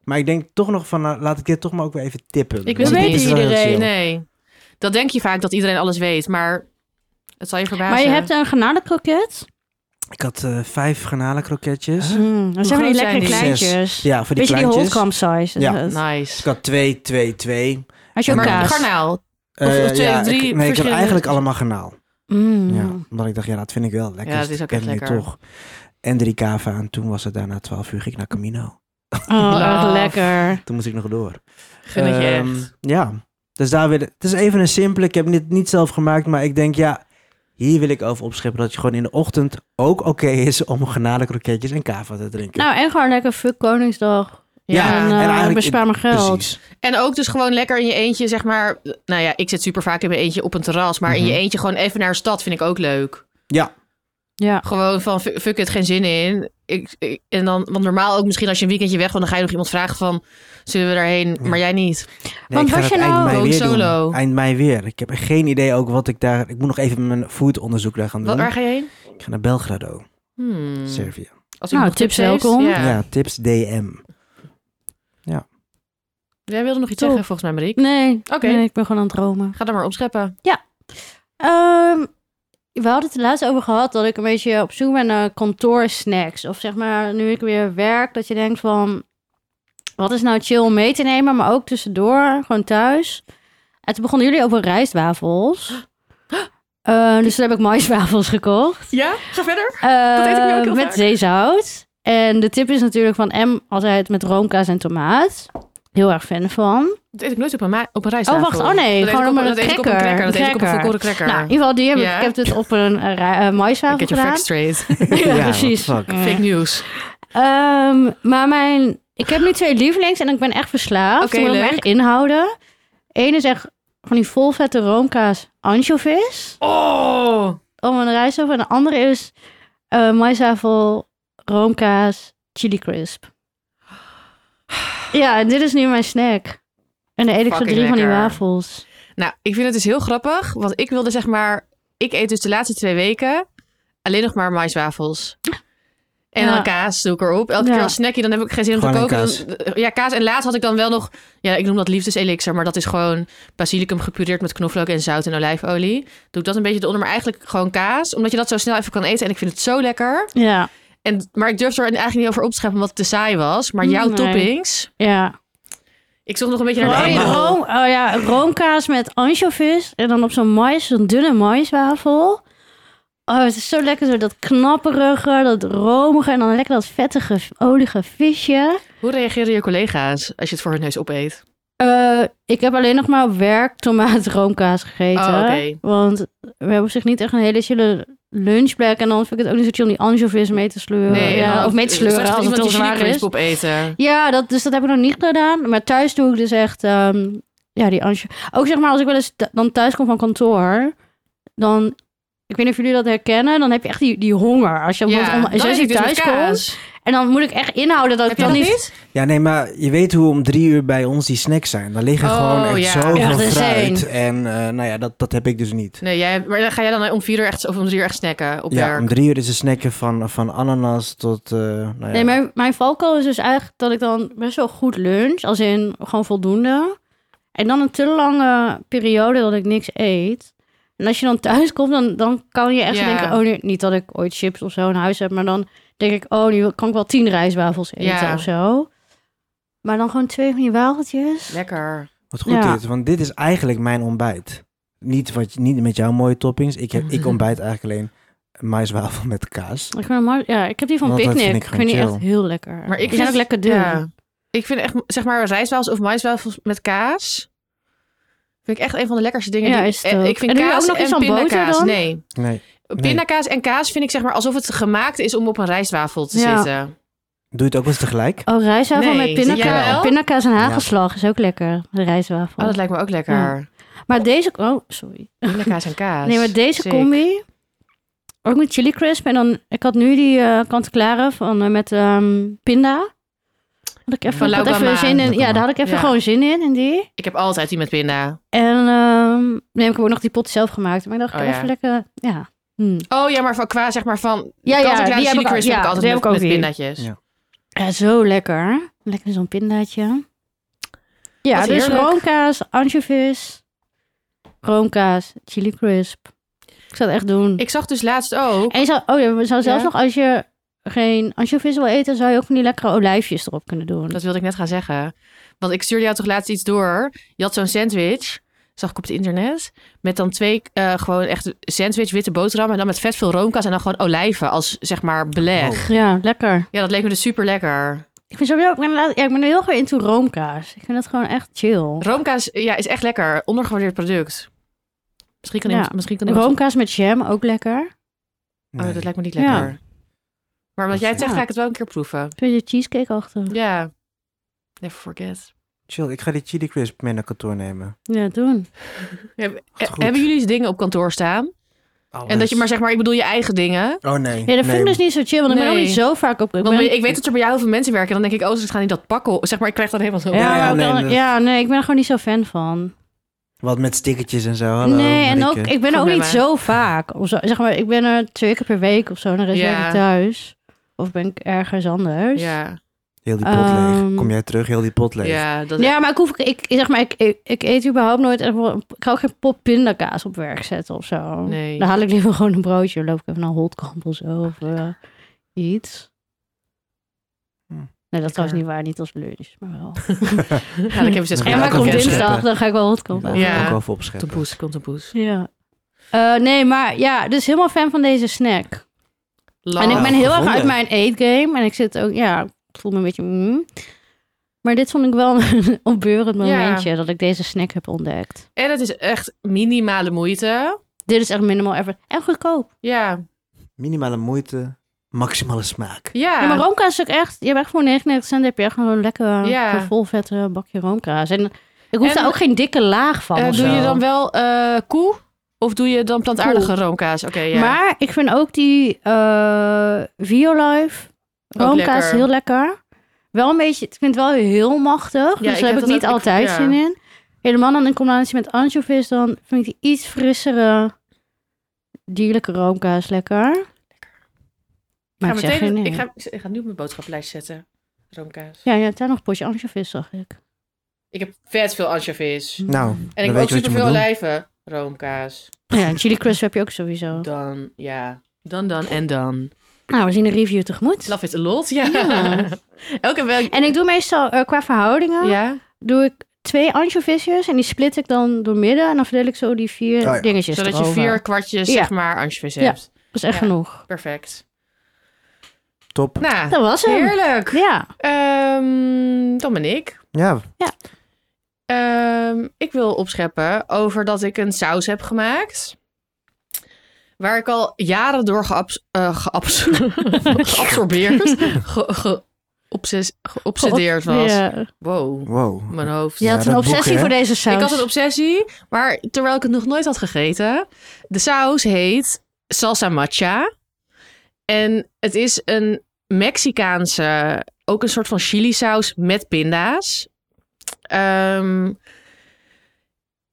Speaker 3: Maar ik denk toch nog van, nou, laat ik dit toch maar ook weer even tippen.
Speaker 2: Ik
Speaker 1: weet
Speaker 3: Want
Speaker 1: het
Speaker 3: dit is
Speaker 1: niet.
Speaker 3: wel heel
Speaker 1: Iedereen,
Speaker 3: chill.
Speaker 2: Nee. Dat denk je vaak dat iedereen alles weet, maar het zal je verbazen.
Speaker 1: Maar je hebt een garnalenkroket.
Speaker 3: Ik had eh, vijf garnalenkroketjes.
Speaker 1: Mm, dat zijn
Speaker 2: groot
Speaker 1: van
Speaker 2: zijn
Speaker 1: die lekkere
Speaker 2: die?
Speaker 1: kleintjes.
Speaker 3: Ja, voor die
Speaker 1: Beetje die
Speaker 3: kleintjes.
Speaker 1: Holtkamp size.
Speaker 3: Ja.
Speaker 1: Ja.
Speaker 2: Nice.
Speaker 3: ik had twee, twee, twee.
Speaker 1: Had je ook
Speaker 3: Maar-
Speaker 1: kaas?
Speaker 2: Garnaal. Of-
Speaker 3: Eh,
Speaker 2: of twee
Speaker 3: ja,
Speaker 2: of drie
Speaker 3: ik, Nee, ik had
Speaker 2: verschillende-
Speaker 3: eigenlijk allemaal garnaal.
Speaker 1: Mm.
Speaker 3: Ja, omdat ik dacht, ja, dat vind ik wel lekker.
Speaker 2: Ja, dat is ook
Speaker 3: Ik
Speaker 2: echt
Speaker 3: ken het
Speaker 2: lekker.
Speaker 3: Toch. En drie kava en toen was het daarna twaalf uur, ging ik naar Camino.
Speaker 1: Oh, echt
Speaker 2: Love.
Speaker 1: lekker.
Speaker 3: Toen moest ik nog door.
Speaker 2: Gun het je
Speaker 3: Ehm,
Speaker 2: echt.
Speaker 3: Ja, dus daar wil ik- Het is even een simpele. Ik heb dit niet zelf gemaakt, maar ik denk ja. Hier wil ik over opscheppen dat je gewoon in de ochtend ook oké is om garnalenkroketjes en kava te drinken.
Speaker 1: Nou, en gewoon lekker fuck Koningsdag.
Speaker 3: Ja,
Speaker 1: en,
Speaker 3: en
Speaker 1: eh,
Speaker 3: eigenlijk-
Speaker 1: bespaar maar
Speaker 2: Nou,
Speaker 1: geld.
Speaker 3: Precies.
Speaker 2: En ook dus gewoon lekker in je eentje, zeg maar. Nou ja, ik zit super vaak in mijn eentje op een terras. Maar in
Speaker 3: Mhm.
Speaker 2: je eentje gewoon even naar een stad vind ik ook leuk.
Speaker 3: Ja.
Speaker 1: Ja.
Speaker 2: Gewoon van, fu- fuck het, geen zin in. Ik, ik- en dan, want normaal ook misschien als je een weekendje weg wil, dan ga je nog iemand vragen van, zullen we daarheen?
Speaker 3: Ja.
Speaker 2: Maar jij niet.
Speaker 3: Nee,
Speaker 1: Want
Speaker 3: ik ga
Speaker 1: was
Speaker 3: het
Speaker 1: je
Speaker 3: eind
Speaker 1: nou
Speaker 3: mei
Speaker 2: ook
Speaker 3: weer
Speaker 2: solo?
Speaker 3: Doen. Eind mei weer. Ik heb geen idee ook wat ik daar... Ik moet nog even mijn foodonderzoek daar gaan doen.
Speaker 2: Wat, waar ga je heen?
Speaker 3: Ik ga naar Belgrado,
Speaker 2: Hmm.
Speaker 3: Servië.
Speaker 2: Als iemand
Speaker 1: Nou,
Speaker 2: nog
Speaker 1: tips
Speaker 2: heeft,
Speaker 1: welkom.
Speaker 2: Ja.
Speaker 3: Ja. tips DM.
Speaker 2: Jij wilde nog iets
Speaker 1: Top.
Speaker 2: zeggen, volgens mij, Marieke.
Speaker 1: Nee,
Speaker 2: Oké.
Speaker 1: nee, ik ben gewoon aan het dromen.
Speaker 2: Ga dan maar opscheppen.
Speaker 1: Ehm, we hadden het er laatst over gehad dat ik een beetje op zoek ben naar kantoorsnacks. Of zeg maar, nu ik weer werk, dat je denkt van... Wat is nou chill om mee te nemen, maar ook tussendoor, gewoon thuis. En toen begonnen jullie over rijstwafels. Eh, dus toen heb ik maiswafels gekocht.
Speaker 2: Ja? Ga verder. eet ik nu ook
Speaker 1: Eh,
Speaker 2: heel vaak.
Speaker 1: met zeezout. En de tip is natuurlijk van M altijd met roomkaas en tomaat. Heel erg fan van.
Speaker 2: Dat eet ik nooit op een, ma- op een rijsttafel.
Speaker 1: Oh, wacht. Oh, nee.
Speaker 2: Dat eet
Speaker 1: Gewoon
Speaker 2: ik op,
Speaker 1: op een
Speaker 2: dat eet ik op een
Speaker 1: cracker.
Speaker 2: cracker. Dat eet ik op een
Speaker 1: Cracker.
Speaker 2: volkoren cracker.
Speaker 1: Nou, in ieder geval die heb ik,
Speaker 2: Ja.
Speaker 1: ik heb dus op een uh, maiswafel
Speaker 2: Get your
Speaker 1: gedaan.
Speaker 2: facts straight.
Speaker 1: Ja,
Speaker 3: Ja,
Speaker 1: precies.
Speaker 3: what the
Speaker 2: Fake news.
Speaker 1: Ehm, maar mijn, ik heb nu twee lievelings en ik ben echt verslaafd.
Speaker 2: Oké,
Speaker 1: ik moet ik me
Speaker 2: leuk.
Speaker 1: echt inhouden. Eén is echt van die volvette roomkaas anchovies
Speaker 2: Oh!
Speaker 1: om een rijst over. En de andere is eh maïsafel, roomkaas, chili crisp. Ja, en dit is nu mijn snack. En dan eet ik zo
Speaker 2: Fucking
Speaker 1: drie van die
Speaker 2: lekker.
Speaker 1: wafels.
Speaker 2: Nou, ik vind het dus heel grappig, want ik wilde zeg maar... Ik eet dus de laatste twee weken alleen nog maar maiswafels. En
Speaker 1: Ja.
Speaker 2: dan kaas doe ik erop. Elke
Speaker 1: Ja.
Speaker 2: keer als snackje, dan heb ik geen zin om te
Speaker 3: Gewoon een
Speaker 2: koken. Dan- eh, ja, kaas. En laatst had ik dan wel nog... Ja, ik noem dat liefdeselixer, maar dat is gewoon basilicum gepureerd met knoflook en zout en olijfolie. Doe ik dat een beetje eronder, maar eigenlijk gewoon kaas. Omdat je dat zo snel even kan eten en ik vind het zo lekker.
Speaker 1: Ja,
Speaker 2: En, maar ik durf er eigenlijk niet over op te scheppen omdat het te saai was. Maar jouw
Speaker 1: Nee.
Speaker 2: toppings...
Speaker 1: ja.
Speaker 2: Ik zocht nog een beetje naar
Speaker 1: Oh,
Speaker 2: de
Speaker 1: die
Speaker 2: ene.
Speaker 1: room, oh ja, roomkaas met anchovies. En dan op zo'n mais, zo'n dunne maiswafel. Oh, het is zo lekker, zo dat knapperige, dat romige en dan lekker dat vettige, olige visje.
Speaker 2: Hoe reageren je collega's als je het voor hun neus opeet?
Speaker 1: Eh, ik heb alleen nog maar op werk tomaat roomkaas gegeten.
Speaker 2: Oh, oké.
Speaker 1: Want we hebben op zich niet echt een hele chille lunchplek. En dan vind ik het ook niet zo chill om die anchovies mee te sleuren. Eh, ja,
Speaker 2: dan-
Speaker 1: of mee te sleuren
Speaker 2: straks
Speaker 1: als het
Speaker 2: iemand
Speaker 1: heel
Speaker 2: die
Speaker 1: zwaar
Speaker 2: chili
Speaker 1: is.
Speaker 2: crisp opeten.
Speaker 1: Ja, dat, dus dat heb ik nog niet gedaan. Maar thuis doe ik dus echt... ehm, ja, die ansje. Ook zeg maar, als ik wel eens th- dan thuis kom van kantoor... dan... Ik weet niet of jullie dat herkennen. Dan heb je echt die, die honger. Als je bijvoorbeeld om zes uur thuis komt... en dan moet ik echt inhouden dat
Speaker 2: dus Heb
Speaker 1: ik
Speaker 2: je
Speaker 1: dan
Speaker 2: dat
Speaker 1: niet...
Speaker 2: niet?
Speaker 3: Ja, nee, maar je weet hoe om drie uur bij ons die snacks zijn. Daar liggen
Speaker 2: Oh,
Speaker 3: gewoon echt
Speaker 2: ja.
Speaker 1: Ja,
Speaker 3: zoveel
Speaker 1: dat is
Speaker 3: fruit. En eh, nou ja, dat, dat heb ik dus niet.
Speaker 2: Nee, jij, maar dan ga jij dan om vier uur echt, of om drie uur echt snacken op
Speaker 3: Ja,
Speaker 2: werk.
Speaker 3: om drie uur is het snacken van, van ananas tot... eh, nou ja.
Speaker 1: Nee, mijn, mijn valkuil is dus eigenlijk dat ik dan best wel goed lunch. Als in gewoon voldoende. En dan een te lange periode dat ik niks eet. En als je dan thuis komt, dan, dan kan je echt
Speaker 2: Ja.
Speaker 1: denken... Oh, nu, niet dat ik ooit chips of zo in huis heb. Maar dan denk ik, oh, nu kan ik wel tien rijstwafels eten
Speaker 2: Ja.
Speaker 1: of zo. Maar dan gewoon twee van die wafeltjes.
Speaker 2: Lekker.
Speaker 3: Wat goed
Speaker 1: Ja.
Speaker 3: dit, want dit is eigenlijk mijn ontbijt. Niet, wat, niet met jouw mooie toppings. Ik, heb, ik ontbijt eigenlijk alleen maiswafel met kaas.
Speaker 1: Ik, vind hem hard- ja, ik heb die van
Speaker 3: Want dat
Speaker 1: Picnic.
Speaker 3: vind ik
Speaker 1: ik
Speaker 3: gewoon
Speaker 1: vind die
Speaker 3: chill.
Speaker 1: echt heel lekker.
Speaker 2: Maar ik
Speaker 1: die
Speaker 2: vind-
Speaker 1: zijn ook lekker dun.
Speaker 2: Ja. Ik vind echt, zeg maar, rijstwafels of maiswafels met kaas... Vind ik echt een van de lekkerste dingen.
Speaker 1: Ja,
Speaker 2: die,
Speaker 1: is het
Speaker 2: eh,
Speaker 1: ook.
Speaker 2: Ik vind
Speaker 1: En doe je
Speaker 2: kaas
Speaker 1: ook nog
Speaker 2: en
Speaker 1: iets aan boter
Speaker 2: pindakaas.
Speaker 1: dan?
Speaker 2: Nee.
Speaker 3: Nee,
Speaker 2: Pindakaas en kaas vind ik zeg maar alsof het gemaakt is om op een rijstwafel te
Speaker 1: Ja.
Speaker 2: zitten.
Speaker 3: doe je het ook wel eens tegelijk?
Speaker 1: Oh, rijstwafel
Speaker 2: Nee,
Speaker 1: met pindaka
Speaker 2: jawel.
Speaker 1: pindakaas en hagelslag is ook lekker. De rijstwafel.
Speaker 2: Oh, dat lijkt me ook lekker.
Speaker 1: Maar deze... Oh, sorry.
Speaker 2: Pindakaas en kaas.
Speaker 1: Nee, maar deze
Speaker 2: Sick.
Speaker 1: combi. Ook met chili crisp. En dan, ik had nu die eh kant-en-klare van, eh, met ehm, pinda. Had ik even,
Speaker 2: Van
Speaker 1: ik had
Speaker 2: Laukama.
Speaker 1: even zin in. Ja, daar had ik even
Speaker 2: Ja.
Speaker 1: gewoon zin in, in die.
Speaker 2: Ik heb altijd die met pinda.
Speaker 1: En ehm nee, ik heb ook nog die pot zelf gemaakt. Maar ik dacht,
Speaker 2: Oh,
Speaker 1: ik
Speaker 2: ja.
Speaker 1: even lekker, ja. Hm.
Speaker 2: Oh ja, maar van, qua zeg maar van...
Speaker 1: Ja,
Speaker 2: kant
Speaker 1: ja,
Speaker 2: en
Speaker 1: die
Speaker 2: klaar
Speaker 1: heb
Speaker 2: chili
Speaker 1: ik al-
Speaker 2: crisp heb
Speaker 1: ja,
Speaker 2: ik
Speaker 1: die
Speaker 2: altijd
Speaker 1: heb
Speaker 2: met,
Speaker 1: ik ook
Speaker 2: met
Speaker 1: weer.
Speaker 2: pindatjes.
Speaker 3: Ja.
Speaker 1: Ja, zo lekker. Lekker zo'n pindaatje. Ja,
Speaker 2: Wat
Speaker 1: dus
Speaker 2: heerlijk.
Speaker 1: roomkaas, anchovies, roomkaas, chili crisp. Ik zou het echt doen.
Speaker 2: Ik zag dus laatst ook...
Speaker 1: En je zou, oh ja, we zou
Speaker 2: Ja.
Speaker 1: zelfs nog als je geen anchovies wil eten, zou je ook van die lekkere olijfjes erop kunnen doen.
Speaker 2: Dat wilde ik net gaan zeggen. Want ik stuurde jou toch laatst iets door. Je had zo'n sandwich, zag ik op het internet. Met dan twee, eh, gewoon echt sandwich, witte boterham. En dan met vet veel roomkaas en dan gewoon olijven als zeg maar beleg.
Speaker 3: Oh.
Speaker 1: Ja, lekker.
Speaker 2: Ja, dat leek me dus super lekker.
Speaker 1: Ik vind sowieso, ik ben, laat- ja, ik ben er heel erg into roomkaas. Ik vind dat gewoon echt chill.
Speaker 2: Roomkaas ja, is echt lekker. Ondergewaardeerd product. Misschien kan
Speaker 1: Ja.
Speaker 2: iemand... Misschien kan iemand
Speaker 1: Roomkaas met jam, ook lekker.
Speaker 2: Oh, dat lijkt me niet
Speaker 1: Ja.
Speaker 2: lekker. Maar omdat jij het
Speaker 1: Ja.
Speaker 2: zegt, ga ik het wel een keer proeven.
Speaker 1: Vind je cheesecake achter?
Speaker 2: Ja. Never forget.
Speaker 3: Chill, ik ga die chili crisp mee naar kantoor nemen.
Speaker 1: Ja, doen.
Speaker 2: Heb-
Speaker 3: Wat goed.
Speaker 2: Eh, hebben jullie dingen op kantoor staan? En dat je maar zeg maar, ik bedoel je eigen dingen.
Speaker 3: Oh nee.
Speaker 1: Ja, dat vind
Speaker 3: nee.
Speaker 1: ik dus niet zo chill, want ik ben
Speaker 2: Nee.
Speaker 1: ook niet zo vaak op... Ik,
Speaker 2: Want
Speaker 1: ben-
Speaker 2: ik weet dat er bij jou heel veel mensen werken. En dan denk ik, oh, ze gaan niet dat pakken. Zeg maar, ik krijg dat helemaal zo.
Speaker 1: Ja,
Speaker 3: Ja,
Speaker 1: maar ook
Speaker 3: nee,
Speaker 1: dan-
Speaker 3: dat-
Speaker 1: ja, nee, ik ben er gewoon niet zo fan van.
Speaker 3: Wat met stickertjes en zo. Hallo,
Speaker 1: nee, en ook,
Speaker 3: Marieke.
Speaker 1: ik ben er ook
Speaker 2: Goed
Speaker 1: niet
Speaker 2: bij
Speaker 1: zo vaak. Of zo, zeg maar, ik ben er twee keer per week of zo, dan is
Speaker 2: Ja.
Speaker 1: ik thuis. Of ben ik ergens anders.
Speaker 2: Ja,
Speaker 3: Heel die pot leeg.
Speaker 1: Ehm,
Speaker 3: Kom jij terug, heel die pot leeg.
Speaker 2: ja, dat,
Speaker 1: Ja, maar ik hoef ik, zeg maar, ik, ik, ik eet überhaupt nooit. echt wel- Ik ga ook geen pot pindakaas op werk zetten of zo.
Speaker 2: Nee.
Speaker 1: Dan haal ik liever gewoon een broodje. Dan loop ik even naar Holtkamp of zo. Of eh, iets.
Speaker 3: Hm.
Speaker 1: Nee, dat is trouwens niet waar. Niet als lunch, maar wel.
Speaker 2: Ja, ik heb zes
Speaker 3: Ja,
Speaker 2: gedaan.
Speaker 1: en maar
Speaker 3: dat kan
Speaker 1: komt
Speaker 3: ik opscheppen.
Speaker 1: dinsdag, dan ga ik wel Holtkamp
Speaker 3: Daar
Speaker 1: aan.
Speaker 3: wil ik
Speaker 2: Ja.
Speaker 3: ook over
Speaker 2: Komt een
Speaker 3: opscheppen.
Speaker 2: poes, komt een poes.
Speaker 1: Ja. Eh, nee, maar ja, dus helemaal fan van deze snack. En ik
Speaker 3: Ah,
Speaker 1: ben heel erg
Speaker 3: gevonden.
Speaker 1: uit mijn eetgame. En ik zit ook, ja, ik voel me een beetje... mm. Maar dit vond ik wel een opbeurend
Speaker 2: Ja.
Speaker 1: momentje dat ik deze snack heb ontdekt.
Speaker 2: En het is echt minimale moeite.
Speaker 1: Dit is echt minimal effort. En goedkoop.
Speaker 2: Ja,
Speaker 3: Minimale moeite, maximale smaak.
Speaker 2: ja.
Speaker 1: Ja, maar roomkaas is ook echt... Je hebt echt voor 99 cent heb je echt gewoon een lekker
Speaker 2: Ja.
Speaker 1: zo'n vol vette bakje roomkaas. En ik hoef
Speaker 2: En-
Speaker 1: daar ook geen dikke laag van
Speaker 2: Eh,
Speaker 1: of
Speaker 2: doe
Speaker 1: zo.
Speaker 2: je dan wel eh, koe? Of doe je dan plantaardige roomkaas? Oké, ja.
Speaker 1: Maar ik vind ook die eh Violife roomkaas
Speaker 2: lekker.
Speaker 1: heel lekker. Wel een beetje, ik vind het wel heel machtig. dus
Speaker 2: ik
Speaker 1: daar
Speaker 2: heb
Speaker 1: heb ik
Speaker 2: dat
Speaker 1: niet
Speaker 2: ook- ik-
Speaker 1: altijd
Speaker 2: ja.
Speaker 1: zin in. Helemaal dan in combinatie met anchovies, dan vind ik die iets frissere dierlijke roomkaas lekker. Maar
Speaker 2: ga
Speaker 1: ik, zeg geen
Speaker 2: meteen,
Speaker 1: nee.
Speaker 2: ik, ga, ik ga nu op mijn boodschappenlijst zetten. Roomkaas.
Speaker 1: Ja, ja, daar nog een potje anchovies zag ik.
Speaker 2: Ik heb vet veel anchovies.
Speaker 3: Nou,
Speaker 2: En ik
Speaker 3: dan
Speaker 2: heb
Speaker 3: weet
Speaker 2: ook
Speaker 3: je wat je moet
Speaker 2: superveel
Speaker 3: doen.
Speaker 2: olijven. Roomkaas.
Speaker 1: Ja, en chili crisp heb je ook sowieso.
Speaker 2: Dan, ja. Dan, dan en dan.
Speaker 1: Nou, we zien de review tegemoet.
Speaker 2: Love it a lot, ja.
Speaker 1: Ja.
Speaker 2: Elke week.
Speaker 1: En ik doe meestal eh, qua verhoudingen.
Speaker 2: Ja,
Speaker 1: doe ik twee anchovisjes en die split ik dan door midden en dan verdeel ik zo die vier
Speaker 3: Oh ja.
Speaker 1: dingetjes
Speaker 2: zodat je
Speaker 1: erover.
Speaker 2: vier kwartjes,
Speaker 1: Ja.
Speaker 2: zeg maar, anchovies
Speaker 1: Ja.
Speaker 2: hebt.
Speaker 1: Dat is echt
Speaker 2: ja.
Speaker 1: genoeg.
Speaker 2: Perfect.
Speaker 3: Top.
Speaker 2: Nou,
Speaker 1: Dat was hem.
Speaker 2: heerlijk.
Speaker 1: Ja.
Speaker 2: Ehm, dan ben ik.
Speaker 3: Ja,
Speaker 2: Ehm, ik wil opscheppen over dat ik een saus heb gemaakt. Waar ik al jaren door geabs- eh, geabs- geabsorbeerd, ge- ge- obses- geobsedeerd was.
Speaker 1: Ja.
Speaker 2: Wow,
Speaker 3: wow.
Speaker 2: mijn hoofd.
Speaker 1: Je had
Speaker 3: dat
Speaker 1: een
Speaker 3: boek,
Speaker 1: obsessie
Speaker 3: hè?
Speaker 1: voor deze saus.
Speaker 2: Ik had een obsessie, maar terwijl ik het nog nooit had gegeten. De saus heet salsa matcha. En het is een Mexicaanse, ook een soort van chili saus met pinda's. Ehm,